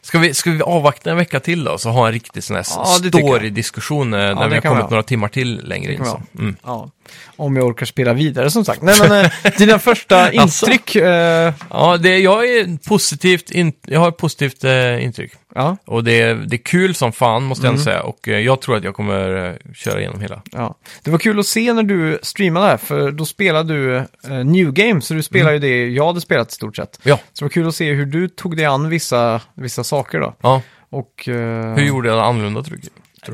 Ska vi, ska vi avvakta en vecka till då? Så ha en riktig sån här Ja, det tycker jag. story-diskussion eh, när det vi har kan vi kommit ha. några timmar till längre in. kan vi Så. Mm. Ja. Om jag orkar spela vidare som sagt. Nej, men eh, dina första Alltså. intryck, eh, Ja, det, jag, är positivt in, jag har ett positivt eh, intryck. ja, Och det, är- det är kul som fan, Mm. måste jag ändå säga. Och eh, jag tror att jag kommer eh, köra igenom hela. Ja. Det var kul att se när du streamade här, för då spelade du eh, New Game, så du spelade ju det jag hade spelat i stort sett. Mm. Ja, Så det var kul att se hur du tog dig an vissa, vissa saker då. ja. Och, eh, hur gjorde jag det annorlunda tror du?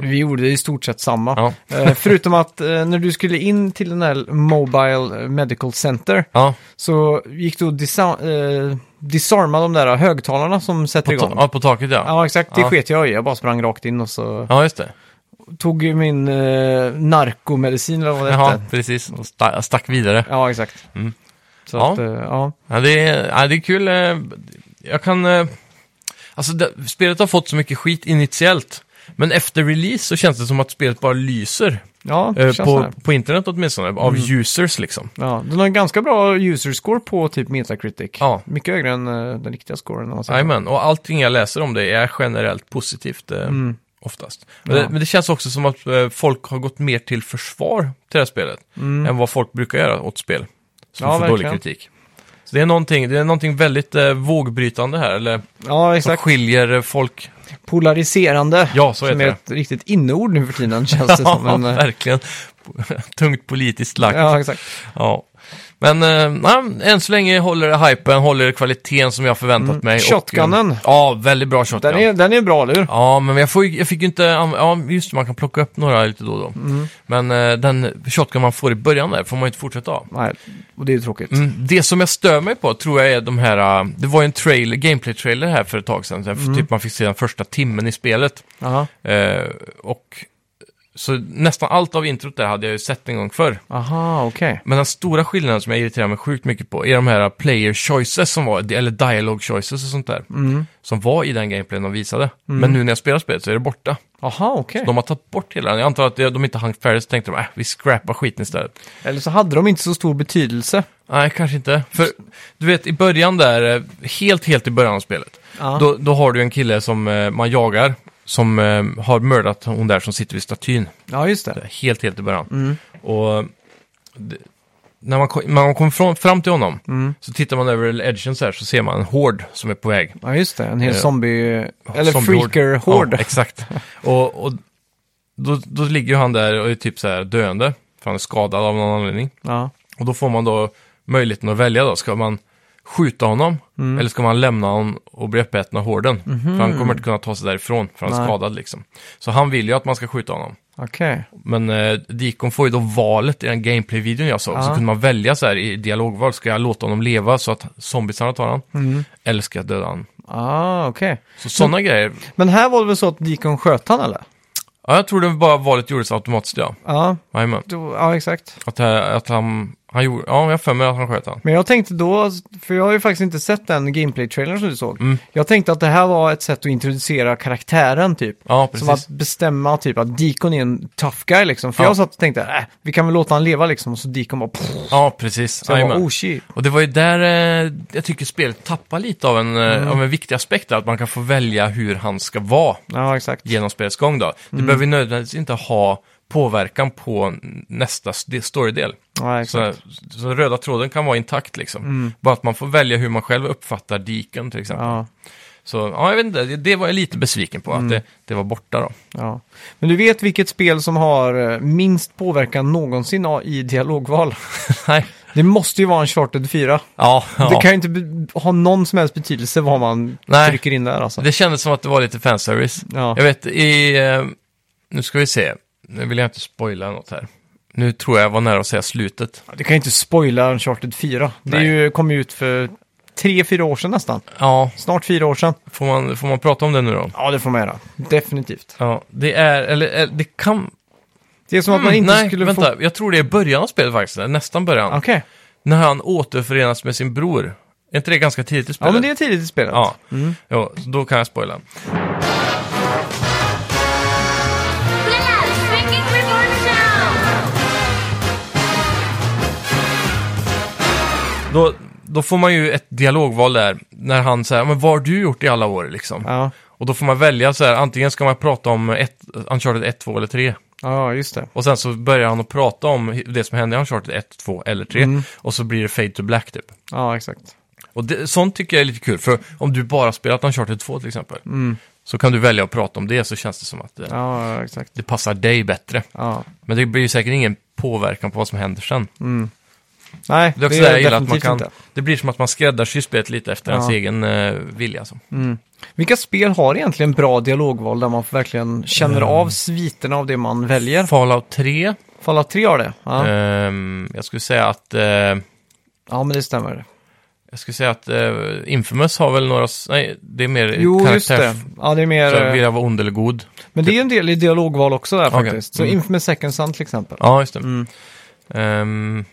vi gjorde i stort sett samma. Ja. Eh, förutom att eh, när du skulle in till den här Mobile Medical Center Ja, så gick du och disa- eh, disarma de där högtalarna som sätter på, igång. ta- ja, på taket ja. Ja, exakt. Det Ja. sket jag i. Jag bara sprang rakt in och så Ja, just det. tog ju min eh, narkomedicin eller vad det Jaha, hette. precis. Och sta- stack vidare. Ja, exakt. Så Mm. Ja. Att, eh, ja. Ja, det är, ja, det är kul. eh, Jag kan... eh, Alltså, det, spelet har fått så mycket skit initiellt. Men efter release så känns det som att spelet bara lyser. Ja, eh, det Mm. känns på, sådär. på internet åtminstone, av users liksom. ja, den har en ganska bra user score på typ Metacritic. Ja. Mycket högre än eh, den riktiga scoren. om man säger. Jajamän, och allting jag läser om det är generellt positivt eh, oftast. Men, Mm. Ja. det, men det känns också som att eh, folk har gått mer till försvar till det här spelet Mm. än vad folk brukar göra åt spel som Ja, får verkligen. dålig kritik. Så det är någonting, det är någonting väldigt eh, vågbrytande här, eller Ja, som exakt. skiljer eh, folk Polariserande. Ja, så som heter är det. ett riktigt inneord nu för tiden känns det som. ja, Men, eh, verkligen. Tungt politiskt lagt. Ja. ja, exakt. Men eh, nej, än så länge håller det hypen, håller kvaliteten som jag förväntat mig. och, eh, Shotgunnen. ja, väldigt bra shotgun. Mm. Den, är, den är bra, eller hur? Ja, men jag, får, ju- jag fick ju inte... an- Ja, just det, man kan plocka upp några lite då och då. Men eh, den shotgun man får i början där får man ju inte fortsätta av. Nej, och det är ju tråkigt. Mm, Det som jag stör mig på tror jag är de här... eh, Det var ju en trailer, gameplay-trailer här för ett tag sedan. så här, Typ man fick se den första timmen i spelet. Aha, Eh, och... Så nästan allt av introt där hade jag ju sett en gång förr. aha okej. Men den stora skillnaden som jag irriterar mig sjukt mycket på är de här player choices som var, eller dialogue choices och sånt där. Som var i den gameplayen de visade. Men nu när jag spelar spelet så är det borta. Aha, okej. De har tagit bort hela den. Jag antar att de inte hann färdigt så tänkte de, äh, vi scrappar skiten istället. Eller så hade de inte så stor betydelse. Nej, kanske inte. För du vet, i början där, eh, helt, helt i början av spelet, Ja. då, då har du en kille som eh, man jagar, som eh, har mördat hon där som sitter vid statyn. Ja, just det. Helt, helt i början. Och det, när man, kom, när man kom fram, fram till honom, så tittar man över edgen så här, så ser man en hord som är på väg. Ja, just det. En hel Eh, zombie... Eller Zombiehord. freaker-hård. Ja, exakt. Och, och då, då ligger ju han där och är typ så här döende, för han är skadad av någon anledning. Ja. Och då får man då möjligheten att välja då, ska man skjuta honom Mm. eller ska man lämna honom och bli uppäten av hården? För han kommer inte kunna ta sig därifrån, för han är Mhm. Nej. skadad liksom. Så han vill ju att man ska skjuta honom. Okej. Men eh, Deacon får ju då valet i den gameplay-videon jag såg. Så Ja. kunde man välja så här i dialogval, ska jag låta honom leva så att zombiesarna tar honom? Eller ska jag döda honom? Ah, okej. Så sådana grejer. Mm. Men här var det väl så att Deacon sköt han, eller? Ja, jag tror det bara valet gjordes automatiskt, ja. Ja, Jajamän. då, ja exakt. Att, eh, att han, han gjorde, ja, jag har för mig att han sköt han. Men jag tänkte då, för jag har ju faktiskt inte sett den gameplay-trailern som du såg. Mm. Jag tänkte att det här var ett sätt att introducera karaktären, typ. Ja, precis. Som att bestämma typ att Deacon är en tough guy liksom. För Ja. jag satt och tänkte, äh, vi kan väl låta han leva liksom. Och så Deacon bara, pff, Ja, precis. så jag bara, Jajamän. oh shit. Och det var ju där eh, jag tycker spelet tappar lite av en, eh, Mm. av en viktig aspekt, där, att man kan få välja hur han ska vara Ja, exakt. genom spelets gång. Då. Mm. Det behöver ju nödvändigtvis inte ha påverkan på nästa s- det- storydel. Ja, exakt. Mm. Så, så den röda tråden kan vara intakt liksom. Bara att man får välja hur man själv uppfattar diken till exempel. Ja, Mm. Så ja, jag vet inte, det- det var jag lite besviken på, att det, det var borta då. ja. Men du vet vilket spel som har eh, minst påverkan någonsin ja, i dialogval? Nej. Det måste ju vara en Charted 4. Ja, ja. Det kan ju inte be- ha någon som helst betydelse vad man Nej. trycker in där alltså. Det kändes som att det var lite fanservice. Ja. Jag vet, i... Eh, nu ska vi se. Nu vill jag inte spoila något här. Nu tror jag var nära att säga slutet. Du kan ju inte spoila Uncharted 4. Det är Nej. ju, kom ju ut för tre, fyra år sedan nästan. Ja, Snart fyra år sedan. får man, får man prata om det nu då? Ja, det får man göra. Definitivt. Ja, det är... Eller, eller det kan... Det är som att man inte Mm, nej, skulle vänta. få... Jag tror det är början av spelet faktiskt. Nästan början. Okej. När han återförenas med sin bror. Är inte det ganska tidigt i spelet? Ja, men det är tidigt i spelet. Ja, jo, så då kan jag spoila. Blast! Shrinking Reborn Sound! Då, då får man ju ett dialogval där. När han säger, men vad har du gjort i alla år liksom? Ja, Och då får man välja så här, antingen ska man prata om ett, Uncharted 1, 2 eller 3. ja just det. Och sen så börjar han att prata om det som hände i Uncharted 1, 2 eller 3. Och så blir det Fade to Black typ. Ja, exakt. Och det, sånt tycker jag är lite kul, för om du bara spelat Uncharted 2 till exempel. Så kan du välja att prata om det, så känns det som att det, Ja, ja, exakt. det passar dig bättre. Ja. Men det blir ju säkert ingen påverkan på vad som händer sen. Nej, Det är också det det är jag gillar, att man definitivt kan, inte. det blir som att man skräddarsyr spelet lite efter Ja. ens egen eh, vilja. Alltså. Vilka spel har egentligen bra dialogval där man verkligen känner Mm. av sviterna av det man väljer? Fallout 3, Fallout 3 har det. Ja, ehm, jag skulle säga att... Eh, ja men det stämmer. Jag skulle säga att eh, Infamous har väl några... s- Nej, det är mer Jo, just karaktärs- det. Ja, det är mer... Så vill eh, jag vara ond eller god? Men det är en del i dialogval också där Okej. faktiskt. Så Mm. Infamous Second Son till exempel. Ja, just det. Mm. Ehm,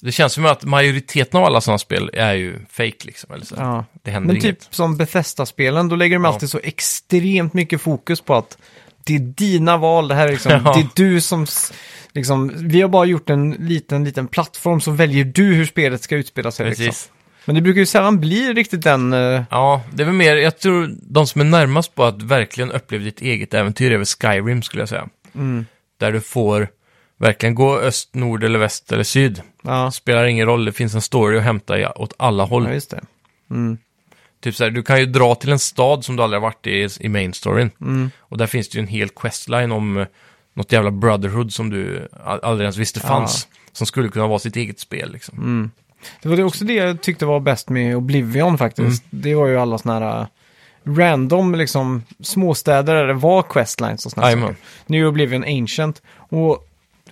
det känns som att majoriteten av alla sådana spel är ju fake liksom. Eller så. Ja. Det händer Men inget. typ som Bethesda-spelen, då lägger de Ja. alltid så extremt mycket fokus på att det är dina val, det här är liksom, Ja. det är du som, s- liksom, vi har bara gjort en liten, liten plattform så väljer du hur spelet ska utspela sig. Liksom. Precis. Men det brukar ju sällan bli riktigt den, eh, Ja, det är väl mer, jag tror de som är närmast på att verkligen uppleva ditt eget äventyr är väl Skyrim skulle jag säga. Mm. Där du får verkligen gå öst, nord eller väst eller syd. ja, Spelar ingen roll, det finns en story att hämta i- åt alla håll. ja just det. Typ så här, du kan ju dra till en stad som du aldrig har varit i i main storyn. Mm. Och där finns det ju en hel questline om eh, något jävla brotherhood som du a- aldrig ens visste fanns. som skulle kunna vara sitt eget spel. Liksom. Mm. Det var det också det jag tyckte var bäst med Oblivion faktiskt. Mm. Det var ju alla sådana här äh, random liksom, småstäder där det var questlines och sådana Jajamän. saker. Nu är Oblivion ancient. Och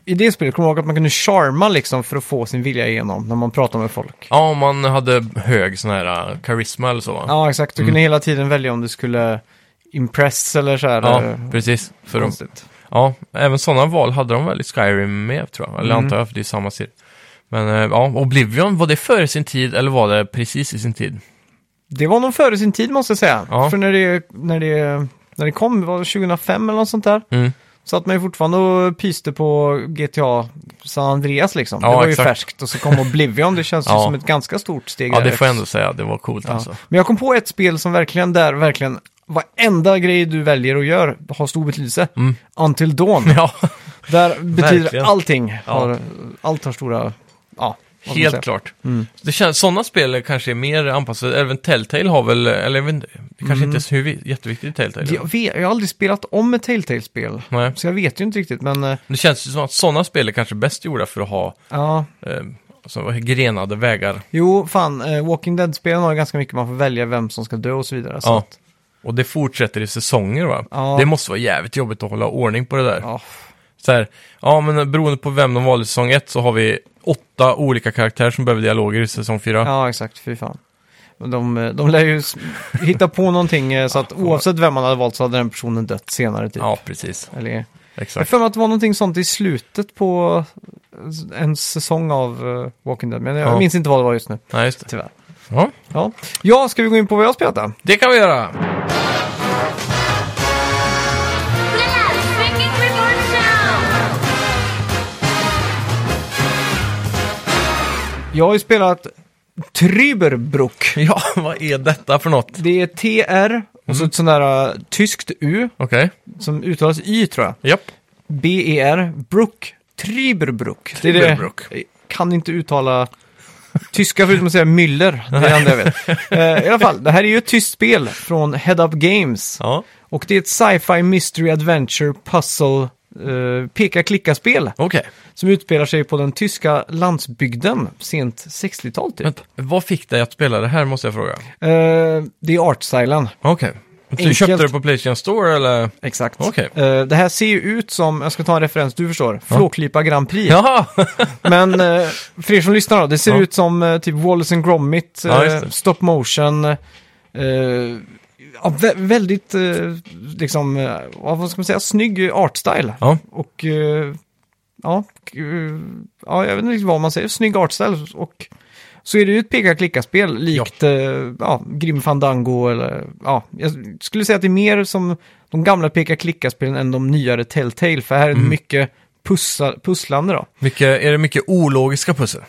i det spelet kommer jag ihåg att man kunde charma liksom för att få sin vilja igenom när man pratar med folk. Ja, om man hade hög sån här eh, karisma eller så. va? Ja, exakt. Du Mm. kunde hela tiden välja om du skulle impress eller så här. ja eh, precis. För de, konstigt. ja, även sådana val hade de väl i Skyrim med, tror jag. Eller Mm. antar jag, för det är samma serie. Men eh, ja, Oblivion, var det före sin tid eller var det precis i sin tid? Det var nog före sin tid måste jag säga. Ja. För när det, när, det, när det kom, det var 2005 eller något sånt där. Mm. Så att man ju fortfarande och pyste på GTA San Andreas liksom. Ja, det var exakt. ju färskt och så kom Oblivion, det känns ju Ja. som ett ganska stort steg. Ja, där det får jag också. ändå säga. Det var coolt alltså. Men jag kom på ett spel som verkligen där, verkligen varenda grej du väljer och gör har stor betydelse. Until Dawn. Ja, Där betyder Mm. Verkligen. allting, Ja. har, allt har stora, ja. vad ska man säga? helt klart. Mm. Det känns, sådana spel kanske är mer anpassade. Även Telltale har väl, eller jag vet inte, det Mm. kanske inte är så hur, vi- jätteviktigt i Telltale. Jag, vet, jag har aldrig spelat om ett Telltale-spel, Nej. så jag vet ju inte riktigt, men eh, Det känns ju som att sådana spel är kanske bäst gjorda för att ha ja. eh, alltså, grenade vägar. Jo, fan, eh, Walking Dead-spelen har ju ganska mycket, man får välja vem som ska dö och så vidare. Så Ja. att, Och det fortsätter i säsonger va? Ja. Det måste vara jävligt jobbigt att hålla ordning på det där. ja. Så här, ja men beroende på vem de valde i säsong 1 så har vi åtta olika karaktärer som behöver dialoger i säsong 4. Ja, exakt. Fy fan. Men De, eh, de lär ju s- hitta på någonting eh, så att oavsett vem man hade valt så hade den personen dött senare. Typ. Ja, precis. Eller, jag har Exakt. för mig att det var någonting sånt i slutet på eh, en säsong av eh, Walking Dead, men jag Ja. minns inte vad det var just nu, Nej, just det. tyvärr. Ja, Ja. ja, ska vi gå in på vad jag har spelat då? det kan vi göra! Blast Freaking Reborn Sound! Jag har ju spelat Trüberbruck. Ja, vad är detta för något? Det är TR och Mm. så ett sånt där eh, tyskt U Okej, som uttalas Y tror jag. japp. B-E-R, E Brook. Trüberbruck. Det är det- Trüberbruck. Jag kan inte uttala tyska förutom att säga Müller. Det är det enda jag vet. Eh, I alla fall, det här är ju ett tyst spel från Head Up Games. Ja, Och det är ett sci-fi mystery adventure puzzle eh, peka-klicka-spel okej. som utspelar sig på den tyska landsbygden sent 60-tal typ. Men Vad fick dig att spela det här måste jag fråga? Eh, det är Artstylen. Okej. Du Enkelt. köpte det på Playstation Store eller? Exakt. Okej. Eh, det här ser ju ut som, jag ska ta en referens du förstår, Flåklypa Grand Prix. Jaha! Men eh, för er som lyssnar då, det ser Ja. ut som eh, typ Wallace and Gromit, eh, Ja, just det. stop motion, eh, ja, vä- väldigt eh, liksom, eh, ja, vad ska man säga, snygg artstyle. Ja. Och eh, ja, k- eh, ja, jag vet inte riktigt vad man säger, snygg artstyle. Och så är det ju ett peka-klicka-spel likt ja. Ja, Grim Fandango eller ja, jag skulle säga att det är mer som de gamla peka-klicka-spelen än de nyare Telltale, för här är det Mm. mycket pussla, pusslande då Mycket, är det mycket ologiska pussel?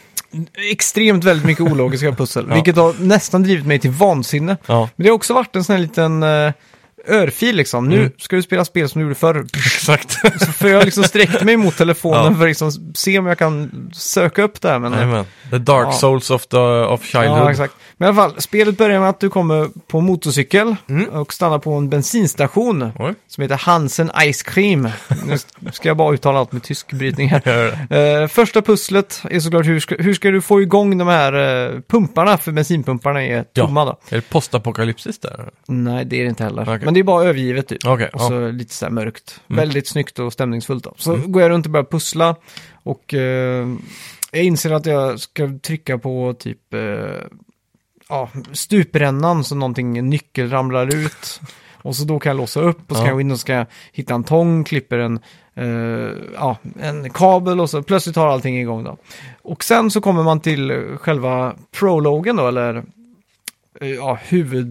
extremt väldigt mycket ologiska pussel, Ja. vilket har nästan drivit mig till vansinne. Ja, Men det har också varit en sån här liten eh, örfil liksom. Mm. Nu ska du spela spel som du gjorde förr. exakt. Så För jag har liksom sträckt mig mot telefonen Ja. för att liksom se om jag kan söka upp det här. Men, Jajamän. The dark Ja. souls of, the, of childhood. ja, exakt. Men i alla fall, spelet börjar med att du kommer på en motorcykel Mm. och stannar på en bensinstation Oj. som heter Hansen Ice Cream. Nu ska jag bara uttala allt med tysk brytning här. Gör det. Eh, första pusslet är såklart hur ska, hur ska du få igång de här eh, pumparna, för bensinpumparna är Ja. tomma då. Är det postapokalypsiskt där? Nej, det är det inte heller. Okej. Men det är bara övergivet typ. Okej, Mm. och så lite så här mörkt. Väldigt snyggt och stämningsfullt då. Så går jag runt och börjar pussla och eh, jag inser att jag ska trycka på typ eh, ja, stuprännan så någonting, en nyckel ramlar ut. Och så då kan jag låsa upp och så Ja. kan jag gå in och så kan jag hitta en tång, klipper en, eh, ja, en kabel och så plötsligt har allting igång då. Och sen så kommer man till eh, själva prologen då, eller eh, ja,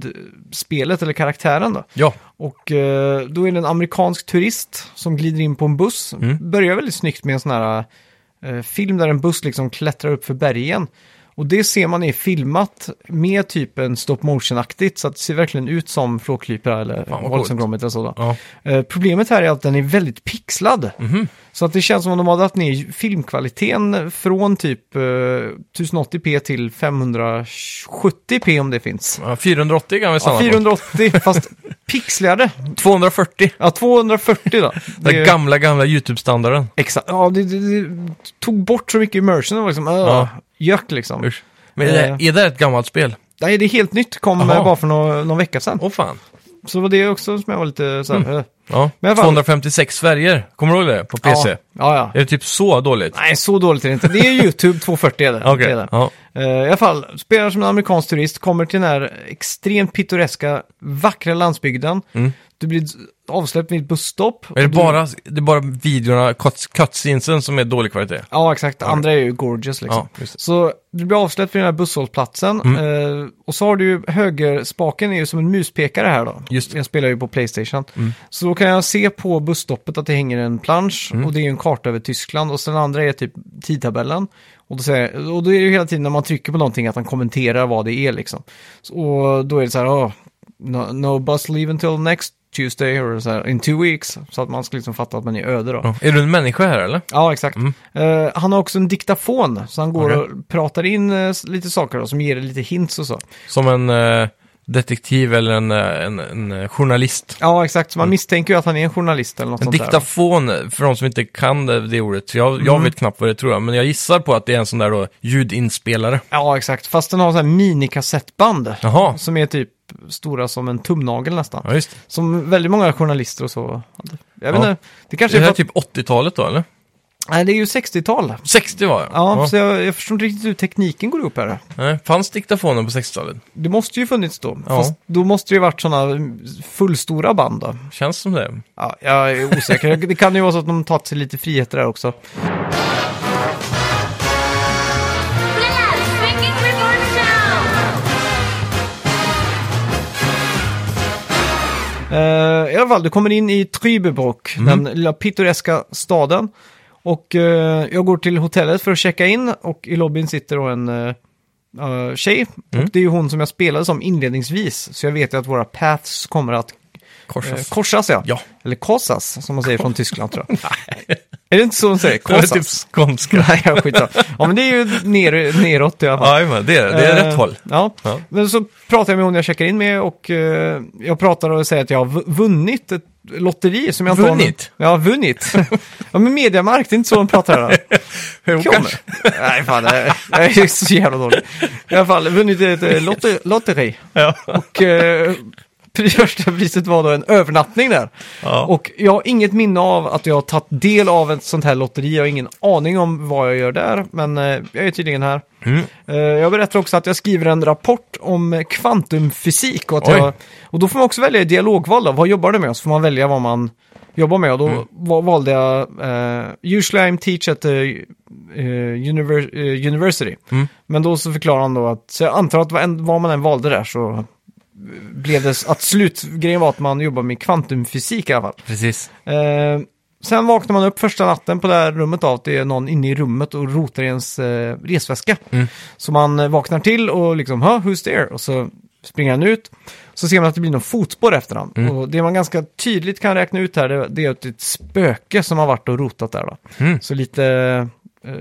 huvudspelet eller karaktären då. Ja, Och eh, då är det en amerikansk turist som glider in på en buss. Mm. Börjar väldigt snyggt med en sån här eh, film där en buss liksom klättrar upp för bergen. Och det ser man är filmat med typ en stop motion-aktigt så att det ser verkligen ut som Flåklypa eller Fan, vad Wallace coolt. and Gromit eller så. Då. ja. Eh, problemet här är att den är väldigt pixlad. Mhm. Så att det känns som om de har dragit ner filmkvaliteten från typ eh, 1080p till 570p om det finns. Ja, 480 kan vi stanna Ja, på. 480, fast pixligare. 240. Ja, 240 då. Det Den är- gamla, gamla YouTube-standarden. Exakt. Ja, det, det, det tog bort så mycket immersion. Det var liksom, Ja. ja. Jök liksom. Usch. Men är det, är det ett gammalt spel? Nej, det är helt nytt. Kom Jaha. eh, bara för någon, någon vecka sedan. Åh fan. Så det var det också som jag var lite så här, Mm. eh. Ja. Men i alla fall- 256 färger. Kommer du ihåg det? På PC. Ja, ja. Är ja. det typ så dåligt? Nej, så dåligt är det inte. Det är YouTube 240 är det. Okej. det, är det. Ja. Eh, I alla fall, spelar som en amerikansk turist, kommer till den här extremt pittoreska, vackra landsbygden. Du blir avsläppt vid ett busstopp. Mm. Är det Och du- bara, det är bara videorna, cuts- cutscenesen som är dålig kvalitet? Ja, exakt. Andra är ju gorgeous liksom. Ja, Mm. just det. så du blir avsläppt vid den här busshållplatsen. Eh, och så har du ju högerspaken är ju som en muspekare här då. Just det. Mm. Jag spelar ju på Playstation. Så då kan jag se på busstoppet att det hänger en plansch Mm. och det är ju en karta över Tyskland. Och sen andra är typ tidtabellen. Och då, säger, och då är det ju hela tiden när man trycker på någonting att han kommenterar vad det är liksom. Så, och då är det så här, oh, no, no bus leave until next Tuesday, eller så här, in two weeks. Så att man ska liksom fatta att man är öde då. Ja. Är du en människa här eller? Ja, exakt. Eh, han har också en diktafon, så han går Mm. Okej. och pratar in eh, s- lite saker då, som ger lite hints och så. Som en eh, detektiv eller en, eh, en, en eh, journalist? Ja, exakt. Så man misstänker ju att han är en journalist eller något Mm. En sånt där. diktafon, för de som inte kan det, det ordet, jag, jag vet knappt vad det tror jag, men jag gissar på att det är en sån där då, ljudinspelare. Ja, exakt. Fast den har så här minikassettband. Jaha, Som är typ stora som en tumnagel nästan. ja just det. Som väldigt många journalister och så. Jag vet Ja. inte. Det kanske Det är, här för är att... typ 80-talet då eller? Nej, det är ju 60-tal. 60 var jag. Ja, så jag, jag förstår inte riktigt hur tekniken går ihop här. Nej, fanns diktafonen på 60-talet? Det måste ju funnits då. Ja. Fast då måste det ju varit sådana fullstora band då. Känns som det. Ja, jag är osäker. Det kan ju vara så att de tagit sig lite friheter där också. Blast freaking report show! Eh, I alla fall, du kommer in i Trübebrock, den lilla pittoreska staden. Och eh, jag går till hotellet för att checka in och i lobbyn sitter då en uh, tjej. Och det är ju hon som jag spelade som inledningsvis. Så jag vet ju att våra paths kommer att eh, Korsas. korsas. Ja. Ja. Eller korsas, som man säger från Tyskland tror jag. Är det inte så de säger? Det var Korsas? typ skånska. Nej, jag skiter Ja, men det är ju ner, neråt i alla fall. Ja, men det är, det är Eh, rätt håll. Ja. Ja. men så pratar jag med hon jag checkar in med och eh, jag pratar och säger att jag har vu- vunnit ett lotteri som jag inte har- Vunnit? Ja, vunnit. ja, men mediamarkt, det är inte så de pratar här. Jo, Kom. kanske. Nej, fan, jag jag är så jävla dålig. I alla fall, vunnit ett eh, lotte, lotteri. Ja. Och eh, första priset var då en övernattning där. Ja. Och jag har inget minne av att jag har tagit del av ett sånt här lotteri. Jag har ingen aning om vad jag gör där, men eh, jag är tydligen här. Mm. Eh, jag berättar också att jag skriver en rapport om eh, kvantumfysik. Och, att Oj. jag, och då får man också välja i dialogval då. Vad jobbar du med? Och Så får man välja vad man jobbar med. Och då va- valde jag eh, Usually I'm teach at the eh, univer- eh, university. Men då så förklarar han då att, så jag antar att vad, en, vad man än valde där så blev det s- att slutgrejen var att man jobbar med kvantumfysik i alla fall. Precis. Eh, sen vaknar man upp första natten på det här rummet av att det är någon inne i rummet och rotar i ens eh, resväska. Så man eh, vaknar till och liksom, "Huh, who's there? Och så springer han ut. Så ser man att det blir någon fotspår efter honom. Och det man ganska tydligt kan räkna ut här, det, det är att det är ett spöke som har varit och rotat där. Då. Så lite eh,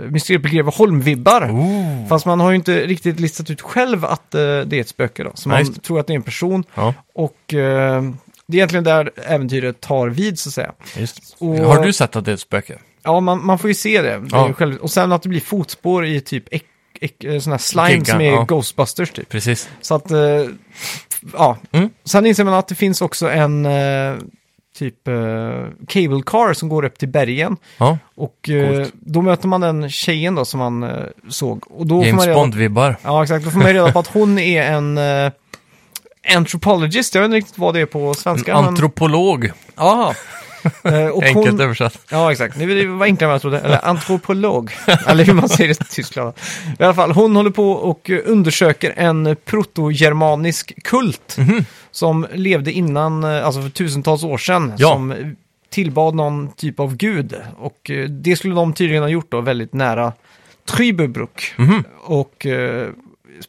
Mysteriet på Greveholm-vibbar. Oh. Fast man har ju inte riktigt listat ut själv att eh, det är ett spöke då. Så Nej, man just tror att det är en person. Ja, Och eh, det är egentligen där äventyret tar vid så att säga. just. Och- Har du sett att det är ett spöke? Ja, man, man får ju se det. det är Ja. ju själv... Och sen att det blir fotspår i typ ek, ek, eh, sån här slime Gegga, som är ja. Ghostbusters typ. Precis. Så att, eh, ja. Mm. Sen inser man att det finns också en eh, typ eh, cable car som går upp till bergen. Ja, Och eh, Coolt. då möter man den tjejen då som man eh, såg. Och då får man James reda... Bond-vibbar. Ja, exakt. Då får man ju reda på att hon är en eh, anthropologist. Jag vet inte riktigt vad det är på svenska. En antropolog, Men... Aha. Eh, och enkelt hon... översatt. Ja, exakt. Nu är Det var enklare än vad jag trodde. Eller antropolog. Eller hur man säger det i Tyskland. I alla fall, hon håller på och eh, undersöker en protogermanisk kult. Som levde innan, eh, alltså för tusentals år sedan. Ja. Som eh, tillbad någon typ av gud. Och eh, det skulle de tydligen ha gjort då väldigt nära Trybebruk. Och eh,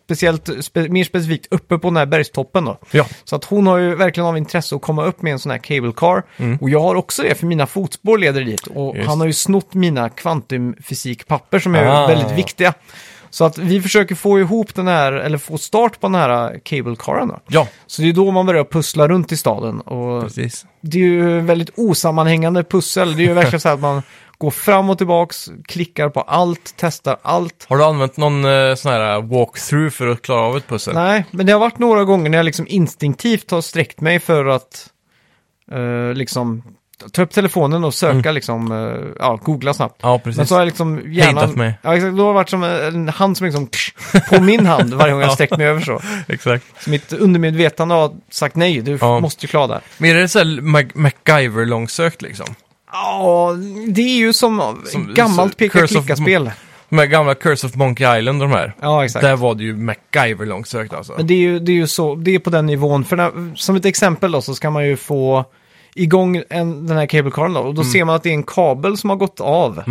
speciellt, spe, mer specifikt uppe på den här bergstoppen då. Ja. Så att hon har ju verkligen av intresse att komma upp med en sån här cable car. Och jag har också det, för mina fotspår leder dit. Och Mm. Just. han har ju snott mina kvantumfysikpapper som är Ah. väldigt viktiga. Så att vi försöker få ihop den här, eller få start på den här eh, cable caren då. Ja, Så det är då man börjar pussla runt i staden och precis. det är ju väldigt osammanhängande pussel. Det är ju verkligen så här att man går fram och tillbaks, klickar på allt, testar allt. Har du använt någon eh, sån här walkthrough för att klara av ett pussel? Nej, men det har varit några gånger när jag liksom instinktivt har sträckt mig för att eh, liksom ta upp telefonen och söka liksom, eh, ja, googla snabbt. Ja, Men Mm. precis. så har jag liksom gärnan... Hejdat mig. Ja, exakt. Då har det varit som en hand som liksom på min hand varje gång jag Ja. sträckt mig över så. Exakt. så. Mitt undermedvetande har sagt nej, du Ja. måste ju klara det här. Men är det så här Mac- MacGyver-långsökt liksom? Ja, det är ju som, Som- gammalt så- Curse of peka-klicka-spel. De här gamla Curse of Monkey Island, de här. Ja, exakt. Där var det ju MacGyver-långsökt alltså. Men det är ju, det är ju så, det är på den nivån. För när, som ett exempel då så ska man ju få igång en, den här kabelkaren då. Och då Mm. ser man att det är en kabel som har gått av.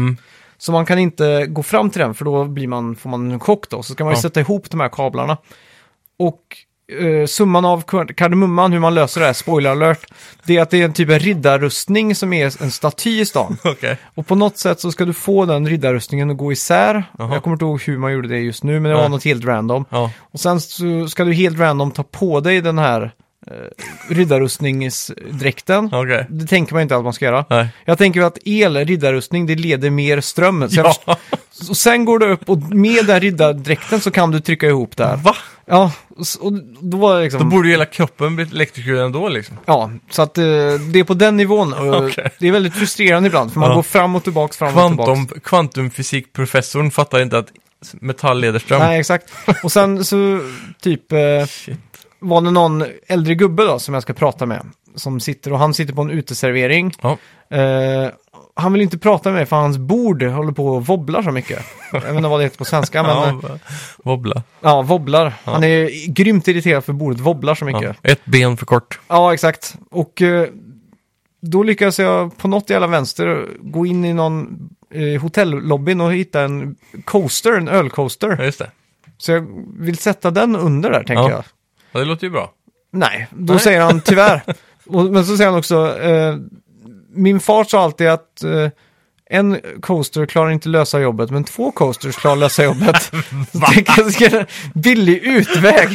Så man kan inte gå fram till den för då blir man, får man en chock då. Så ska man ju Ja. sätta ihop de här kablarna. Och eh, summan av kar- kardemumman, hur man löser det här, spoiler alert, det är att det är en typ av riddarrustning som är en staty i stan. Okej. Och på något sätt så ska du få den riddarrustningen att gå isär. Jaha. Jag kommer inte ihåg hur man gjorde det just nu, men det Nej. var något helt random. Ja. Och sen så ska du helt random ta på dig den här eh, riddarrustningsdräkten. Okej. Det tänker man inte att man ska göra. Nej. Jag tänker att el, riddarrustning, det leder mer ström. Så jag Ja. först- och sen går du upp och med den riddardräkten så kan du trycka ihop där. Va? Ja, och s- och då var det liksom... Då borde ju hela kroppen bli elektrikerad ändå liksom. Ja, så att eh, det är på den nivån. Och, eh, Okej. Det är väldigt frustrerande ibland, för man Ja. går fram och tillbaks, fram och tillbaks. Kvantum, kvantumfysikprofessorn fattar inte att metall leder ström. Nej, exakt. Och sen så typ eh, Shit. var det någon äldre gubbe då som jag ska prata med. Som sitter och han sitter på en uteservering. Ja. Eh, han vill inte prata med mig för hans bord håller på och wobblar så mycket. Jag vet inte vad det heter på svenska, men Ja, ja, va- wobbla. ja wobblar. Han är grymt irriterad för bordet wobblar så mycket. Ja. Ja, Ett ben för kort. exakt. Och eh, då lyckades jag på något jävla vänster gå in i någon eh, hotellobbyn och hitta en coaster, en ölcoaster. Ja, just det. Så jag vill sätta den under där, tänker Ja. jag. Ja, det låter ju bra. Nej, då Nej. säger han tyvärr. Och, men så säger han också, eh, min far sa alltid att eh, en coaster klarar inte lösa jobbet, men två coasters klarar lösa jobbet. Så tänker jag, ska det- Billig utväg.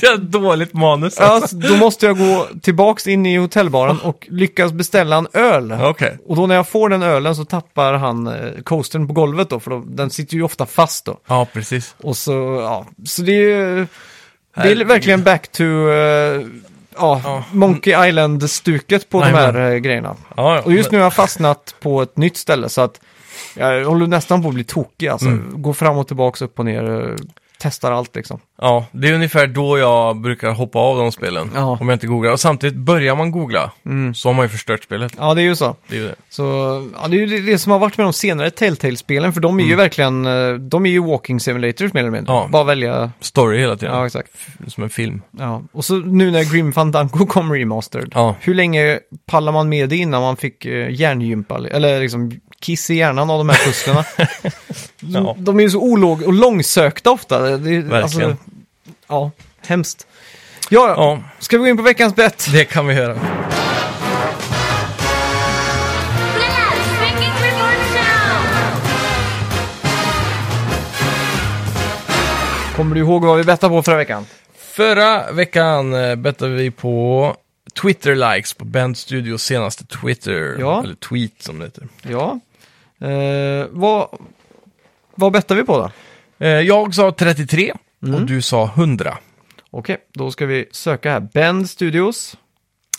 det är ett dåligt manus. Alltså, då måste jag gå tillbaks in i hotellbaren och lyckas beställa en öl. Okej. Och då när jag får den ölen så tappar han eh, coastern på golvet då, för då, den sitter ju ofta fast då. Ja, precis. Och så, ja, så det är ju... Det är Herregud. verkligen back to... eh, ja, Ja. Monkey Island-stuket på de Nej, men- här eh, grejerna. Ja, ja. Och just nu har jag fastnat på ett nytt ställe så att jag håller nästan på att bli tokig alltså. Mm. Går fram och tillbaks, upp och ner, eh, testar allt liksom. Ja, det är ungefär då jag brukar hoppa av de spelen. Ja. Om jag inte googlar. Och samtidigt, börjar man googla så har man ju förstört spelet. Ja, det är ju så. Det är ju det. Så ja, det är ju det- det som har varit med de senare Telltale-spelen, för de är ju verkligen, eh, de är ju walking simulators mer eller mindre. Mm. Ja. Bara välja, Story hela tiden. ja exakt. Som en film. Ja, och så nu när Grim Fandango kom remastered, Ja. hur länge pallar man med det innan man fick eh, hjärngympa, eller liksom kiss i hjärnan av de här pusslerna? Ja. de, de är ju så olåg och långsökta ofta. Det, är- Verkligen. ja, hemskt. Ja, ja, Ja, ska vi gå in på veckans bett? det kan vi göra. Blast Speaking Remote Sound! Kommer du ihåg vad vi bettade på förra veckan? Förra veckan eh, bettade vi på Twitter-likes på Band Studios senaste Twitter. Ja. Eller tweet som det heter. Ja. Eh, vad, vad bettade vi på då? Eh, Jag sa 33 och du sa 100. Okej, då ska vi söka här. Bend Studios.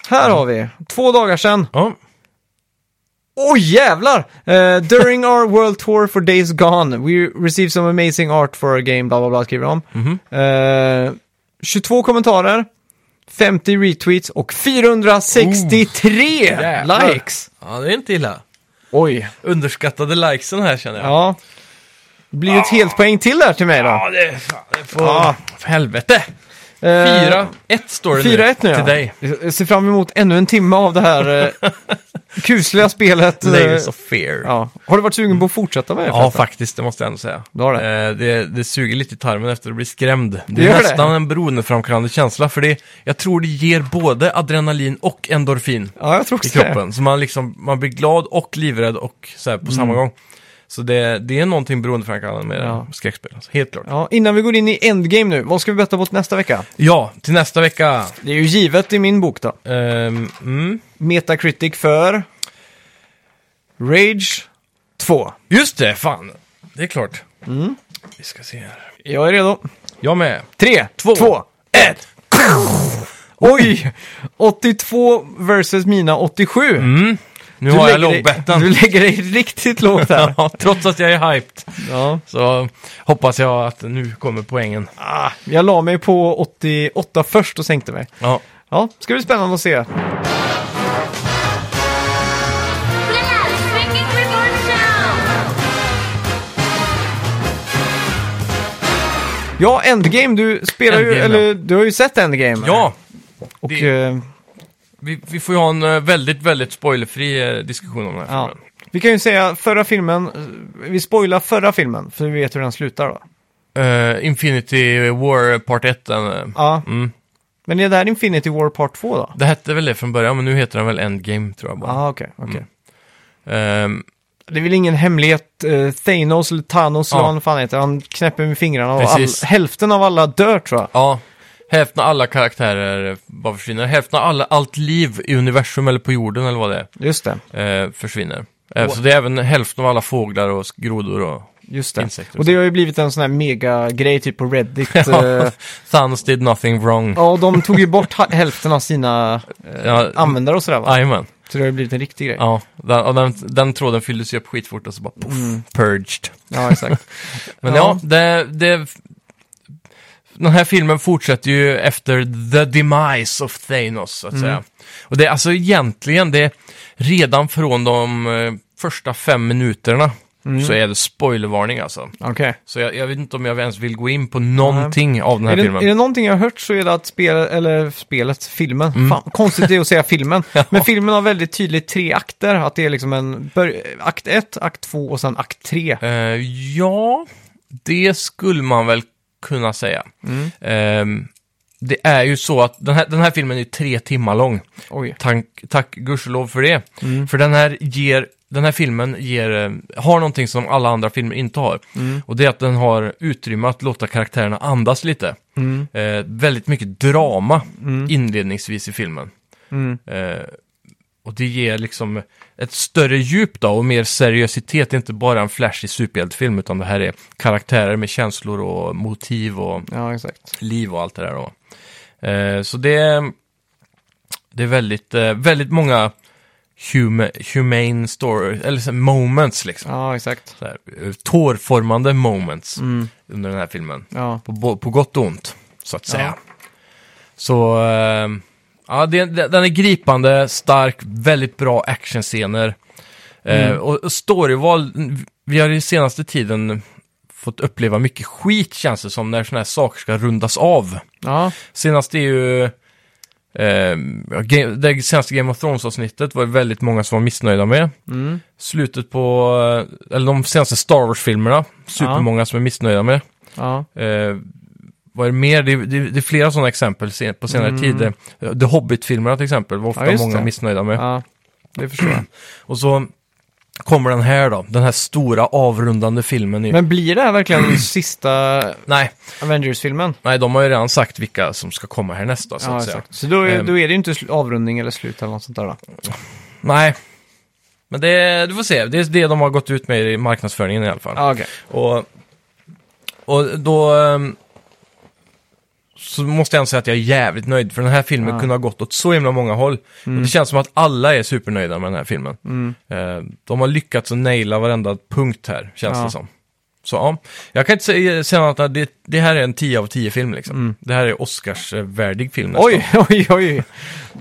Här Mm. har vi, två dagar sedan. Ja, Åh oh, jävlar! Eh, during our world tour for days gone, we received some amazing art for our game, bla bla bla skriver de. Mhm. Eh, 22 kommentarer, 50 retweets och 463 Oh, jävlar. likes! ja det är inte illa. Oj, Underskattade likesen här känner jag. ja. Det blir ju ett helt poäng till där till mig då. Ja, det, fan, det får... Ja. För helvete! Eh, 4-1 står det 4-1 nu till ja. dig. Jag ser fram emot ännu en timme av det här eh, kusliga spelet. eh, Layers of fear. Ja, ja. Har du varit sugen på att fortsätta med det? förresten? faktiskt, det måste jag ändå säga. Du har det. Eh, det, det suger lite i tarmen efter att bli skrämd. Det Gör är det? nästan en beroendeframkallande känsla, för det, jag tror det ger både adrenalin och endorfin ja, jag tror också i det. Mm. kroppen. Så man, liksom, man blir glad och livrädd och så här på samma gång. Så det, det är någonting beroendeframkallande med Ja. skräckspel, alltså. helt klart. Ja. Ja, innan vi går in i Endgame nu, vad ska vi betta på nästa vecka? till nästa vecka. Det är ju givet i min bok då. Ehm, mm. Metacritic för Rage 2. Just det, fan. Det är klart. Mm. Vi ska se här. Jag är redo. Jag med. 3, 2, 2 Ett! Oj! 82 versus mina 87. Nu har jag lägger dig- lågbetten. Du lägger dig riktigt lågt här. Ja, trots att jag är hyped ja. så hoppas jag att nu kommer poängen. ah, jag la mig på 88 först och sänkte mig. Ja. Ja, ska bli spännande att se. Blast Freaking Reborn Show! Ja, Endgame, du spelar ju, Endgame, eller du har ju sett Endgame. ja. Och, det- eh, Vi, vi får ju ha en eh, väldigt, väldigt spoilerfri eh, diskussion om den här ja. filmen. Vi kan ju säga förra filmen, eh, vi spoilar förra filmen, för vi vet hur den slutar då. Eh, Infinity War Part 1. Den, eh, Ja, mm. men är det här Infinity War Part 2 då? Det hette väl det från början, men nu heter den väl Endgame tror jag Ja, bara. ah, okej. okej. Mm. Ehm, Det är väl ingen hemlighet, eh, Thanos eller Thanos eller Ja. vad han fan heter, han knäpper med fingrarna och all, Precis. hälften av alla dör tror jag. ja, hälften av alla karaktärer eh, bara försvinner. Hälften av alla, allt liv i universum eller på jorden eller vad det Just det, är, eh, försvinner. Eh, så det är även hälften av alla fåglar och grodor och just det. Insekter. Och det har ju blivit en sån här mega-grej typ på Reddit. eh, Thanos did nothing wrong. Ja, och de tog ju bort ha- hälften av sina eh, Ja, användare och sådär va? Jajamän. Så det har ju blivit en riktig grej. Ja, den, och den, den tråden fylldes ju upp skitfort och så bara poff, purged. Mm. Ja, exakt. Men Ja. ja, det, det... Den här filmen fortsätter ju efter the demise of Thanos, så att Mm. säga. Och det är alltså egentligen, det är redan från de eh, första fem minuterna Mm. så är det spoilervarning alltså. Okej. Så jag, jag vet inte om jag ens vill gå in på någonting av den här Är det, filmen. är det någonting jag har hört så är det att spelet, eller spelet, filmen, Mm. fan, konstigt det är att säga filmen, men filmen har väldigt tydligt tre akter, att det är liksom en, bör- akt 1, akt 2 och sen akt 3. Eh, ja, det skulle man väl kunna säga. Mm. Ehm, det är ju så att den här, den här filmen är tre timmar lång. Oj. Mm. Tack, tack gudskelov för det. För den här, ger, den här filmen ger, eh, har någonting som alla andra filmer inte har. Och det är att den har utrymme att låta karaktärerna andas lite. Mm. Eh, väldigt mycket drama inledningsvis i filmen. Mm. Eh, och det ger liksom ett större djup då och mer seriositet. Det är inte bara en flashig superhjältefilm utan det här är karaktärer med känslor och motiv och Ja, exakt. liv och allt det där. Då. Eh, så det, är- det är väldigt, eh, väldigt många hum, humane story, eller så här moments liksom. Ja, exakt. Så här, eh, tårformande moments under den här filmen. Ja. På, bo- på gott och ont, så att säga. Så, eh, ja, det, det- den är gripande, stark, väldigt bra actionscener. Eh, och och storyval, vi har ju senaste tiden fått uppleva mycket skit känns det som när sådana här saker ska rundas av. Ja, Senast är ju... Eh, ja, Ga- det senaste Game of Thrones-avsnittet var det väldigt många som var missnöjda med. Slutet på... eh, Eller de senaste Star Wars-filmerna. Supermånga som är missnöjda med. ja. Eh, vad är det mer? Det, det, det är flera sådana exempel se- på senare tid. Eh, The Hobbit-filmerna till exempel var ofta Mm. Ja, just många det. missnöjda med. ja. Det förstår jag. Och så kommer den här då. Den här stora avrundande filmen. i- Men blir det här verkligen den sista Nej, Avengers-filmen? nej, de har ju redan sagt vilka som ska komma härnäst då, så Ja, att säga. exakt. Så då är, Ehm. då är det ju inte sl- avrundning eller slut eller något sånt där va? Nej. Men det, du får se, det är det de har gått ut med i marknadsföringen i alla fall. Ja, okej. Och, och då... ehm, Så måste jag ändå säga att jag är jävligt nöjd, för den här filmen Ja. Mm. kunde ha gått åt så himla många håll. Och det känns som att alla är supernöjda med den här filmen. Eh, De har lyckats att naila varenda punkt här, känns Ja. det som. Så ja, jag kan inte säga säga annat än att det, det här är en 10 av 10 film liksom. Det här är Oscarsvärdig film nästan. Mm. Oj, oj, oj.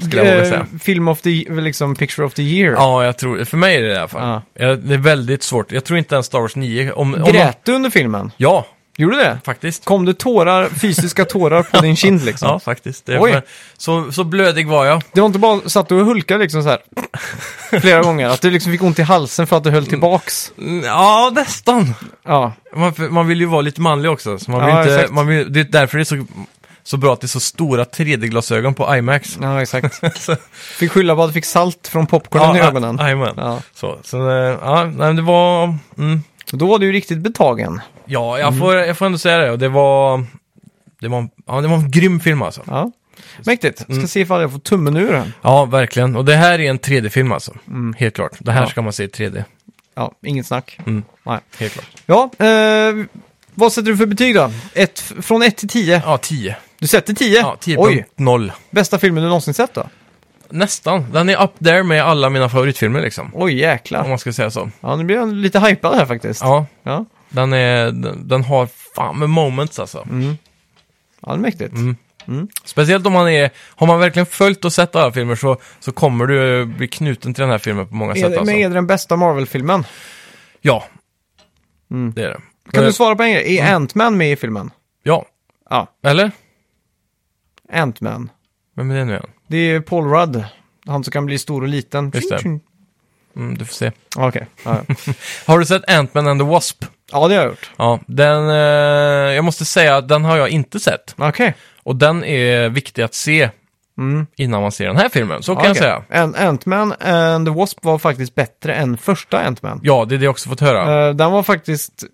Skulle jag våga Eh, säga. Film of the, liksom Picture of the Year. Ja, jag tror, för mig är det i alla fall. Ja. Det är väldigt svårt. Jag tror inte ens Star Wars 9... Om, om någon- Grät du under filmen? ja, Gjorde du det? faktiskt. Kom det tårar, fysiska tårar på din kind liksom? Ja, faktiskt. Det Oj. var, så, så blödig var jag. Det var inte bara satt du och hulkade liksom så här flera gånger? Att du liksom fick ont i halsen för att du höll tillbaks? Mm, Ja, nästan. Ja, Man, för man vill ju vara lite manlig också. Så man vill Ja, inte, exakt. man vill, det är därför det är så, så bra att det är så stora 3D-glasögon på IMAX. ja exakt. Så- Fick skylla på att du fick salt från popcornen i Ja, ögonen. Jajamän. Ja. Så, så eh, ja, nej, men det var... Mm, Då var du ju riktigt betagen. Ja, jag, får, jag får ändå säga det. Och det var... Det var, en, ja, det var en grym film alltså. Ja. Mäktigt. Ska Mm. se ifall jag får tummen ur den. Ja, verkligen. Och det här är en 3D-film alltså. Helt klart. Det här Ja. ska man se i 3D. Ja, inget snack. Mm. Nej. Helt klart. Ja, eh, vad sätter du för betyg då? Ett, från 1 till 10? Ja, 10. Du sätter 10? Ja, Oj, 10.0. bästa filmen du någonsin sett då? Nästan. Den är up there med alla mina favoritfilmer liksom. Oj, Om jäklar. man ska säga så. Ja, nu blir jag lite hypad här faktiskt. Ja, Ja, den, är, den, den har fan med moments alltså. Mm. ja det är mäktigt. Mm, Speciellt om man är, har man verkligen följt och sett alla filmer så, så kommer du bli knuten till den här filmen på många Är, sätt det- alltså. men är det den bästa Marvel-filmen? Ja, det är det. Mm. Kan Eh, du svara på en grej? Är Ant-Man med i filmen? Ja, Ja, eller? Ant-Man. Vem är det nu igen? Det är Paul Rudd. Han som kan bli stor och liten. Just det. Tjing, tjing. Mm, du får se. Ja, Okej. Ja, ja. Har du sett Ant-Man and the Wasp? ja, det har jag gjort. Ja, den, eh, jag måste säga att den har jag inte sett. Okej. Och den är viktig att se innan man ser den här filmen, så kan jag säga. An- Ant-Man and the Wasp var faktiskt bättre än första Ant-Man. Ja, det är det jag också fått höra. Eh, den var faktiskt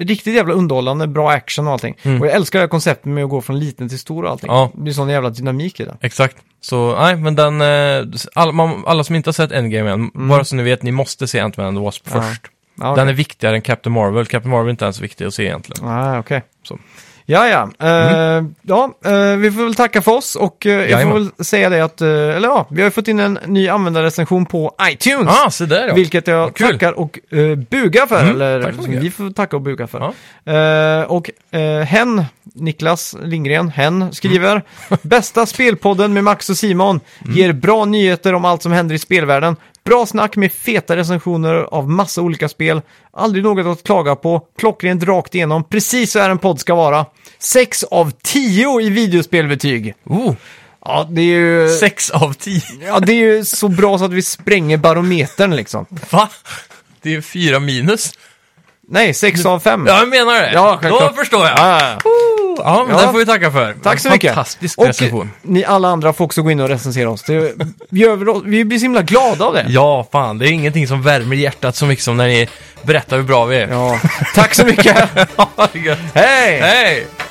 riktigt jävla underhållande, bra action och allting. Och jag älskar det här konceptet med att gå från liten till stor och allting. Mm. Ja. Det är sån jävla dynamik i det. Exakt. Så nej, men den, eh, all, man, alla som inte har sett Endgame än, Mm. bara så ni vet, ni måste se Ant-Man and the Wasp först. Ja, Den är viktigare än Captain Marvel. Captain Marvel är inte ens viktig att se egentligen. Ah, okej. Så. Ja, ja. Eh, ja eh, vi får väl tacka för oss och eh, jag får Jajamän. väl säga det att, eh, eller ja, vi har ju fått in en ny användarrecension på iTunes. Ah, se där ja. Vilket jag Vad kul. tackar och eh, bugar för, Mm, eller tack så mycket. vi får tacka och buga för. Eh, och eh, hen, Niklas Lindgren, hen skriver Mm. Bästa spelpodden med Max och Simon ger bra nyheter om allt som händer i spelvärlden. Bra snack med feta recensioner av massa olika spel. Aldrig något att klaga på. Klockrent rakt igenom. Precis så här en podd ska vara. 6 av 10 i videospelbetyg. Oh, Ja, det är ju... sex av tio. Ja, det är ju så bra så att vi spränger barometern liksom. Va? Det är ju fyra minus. Nej, 6 av 5. Ja, jag menar det. Mm. Ja, självklart. Då förstår jag. Ja, ja, ja. Ja, men Ja. den får vi tacka för. Tack så mycket. Fantastisk Och recension. ni alla andra får också gå in och recensera oss. Det gör vi, då- vi blir så himla glada av det. Ja, fan. Det är ingenting som värmer hjärtat så mycket som när ni berättar hur bra vi är. Ja. Tack så mycket. Ja, det är gött. Hej! Hej!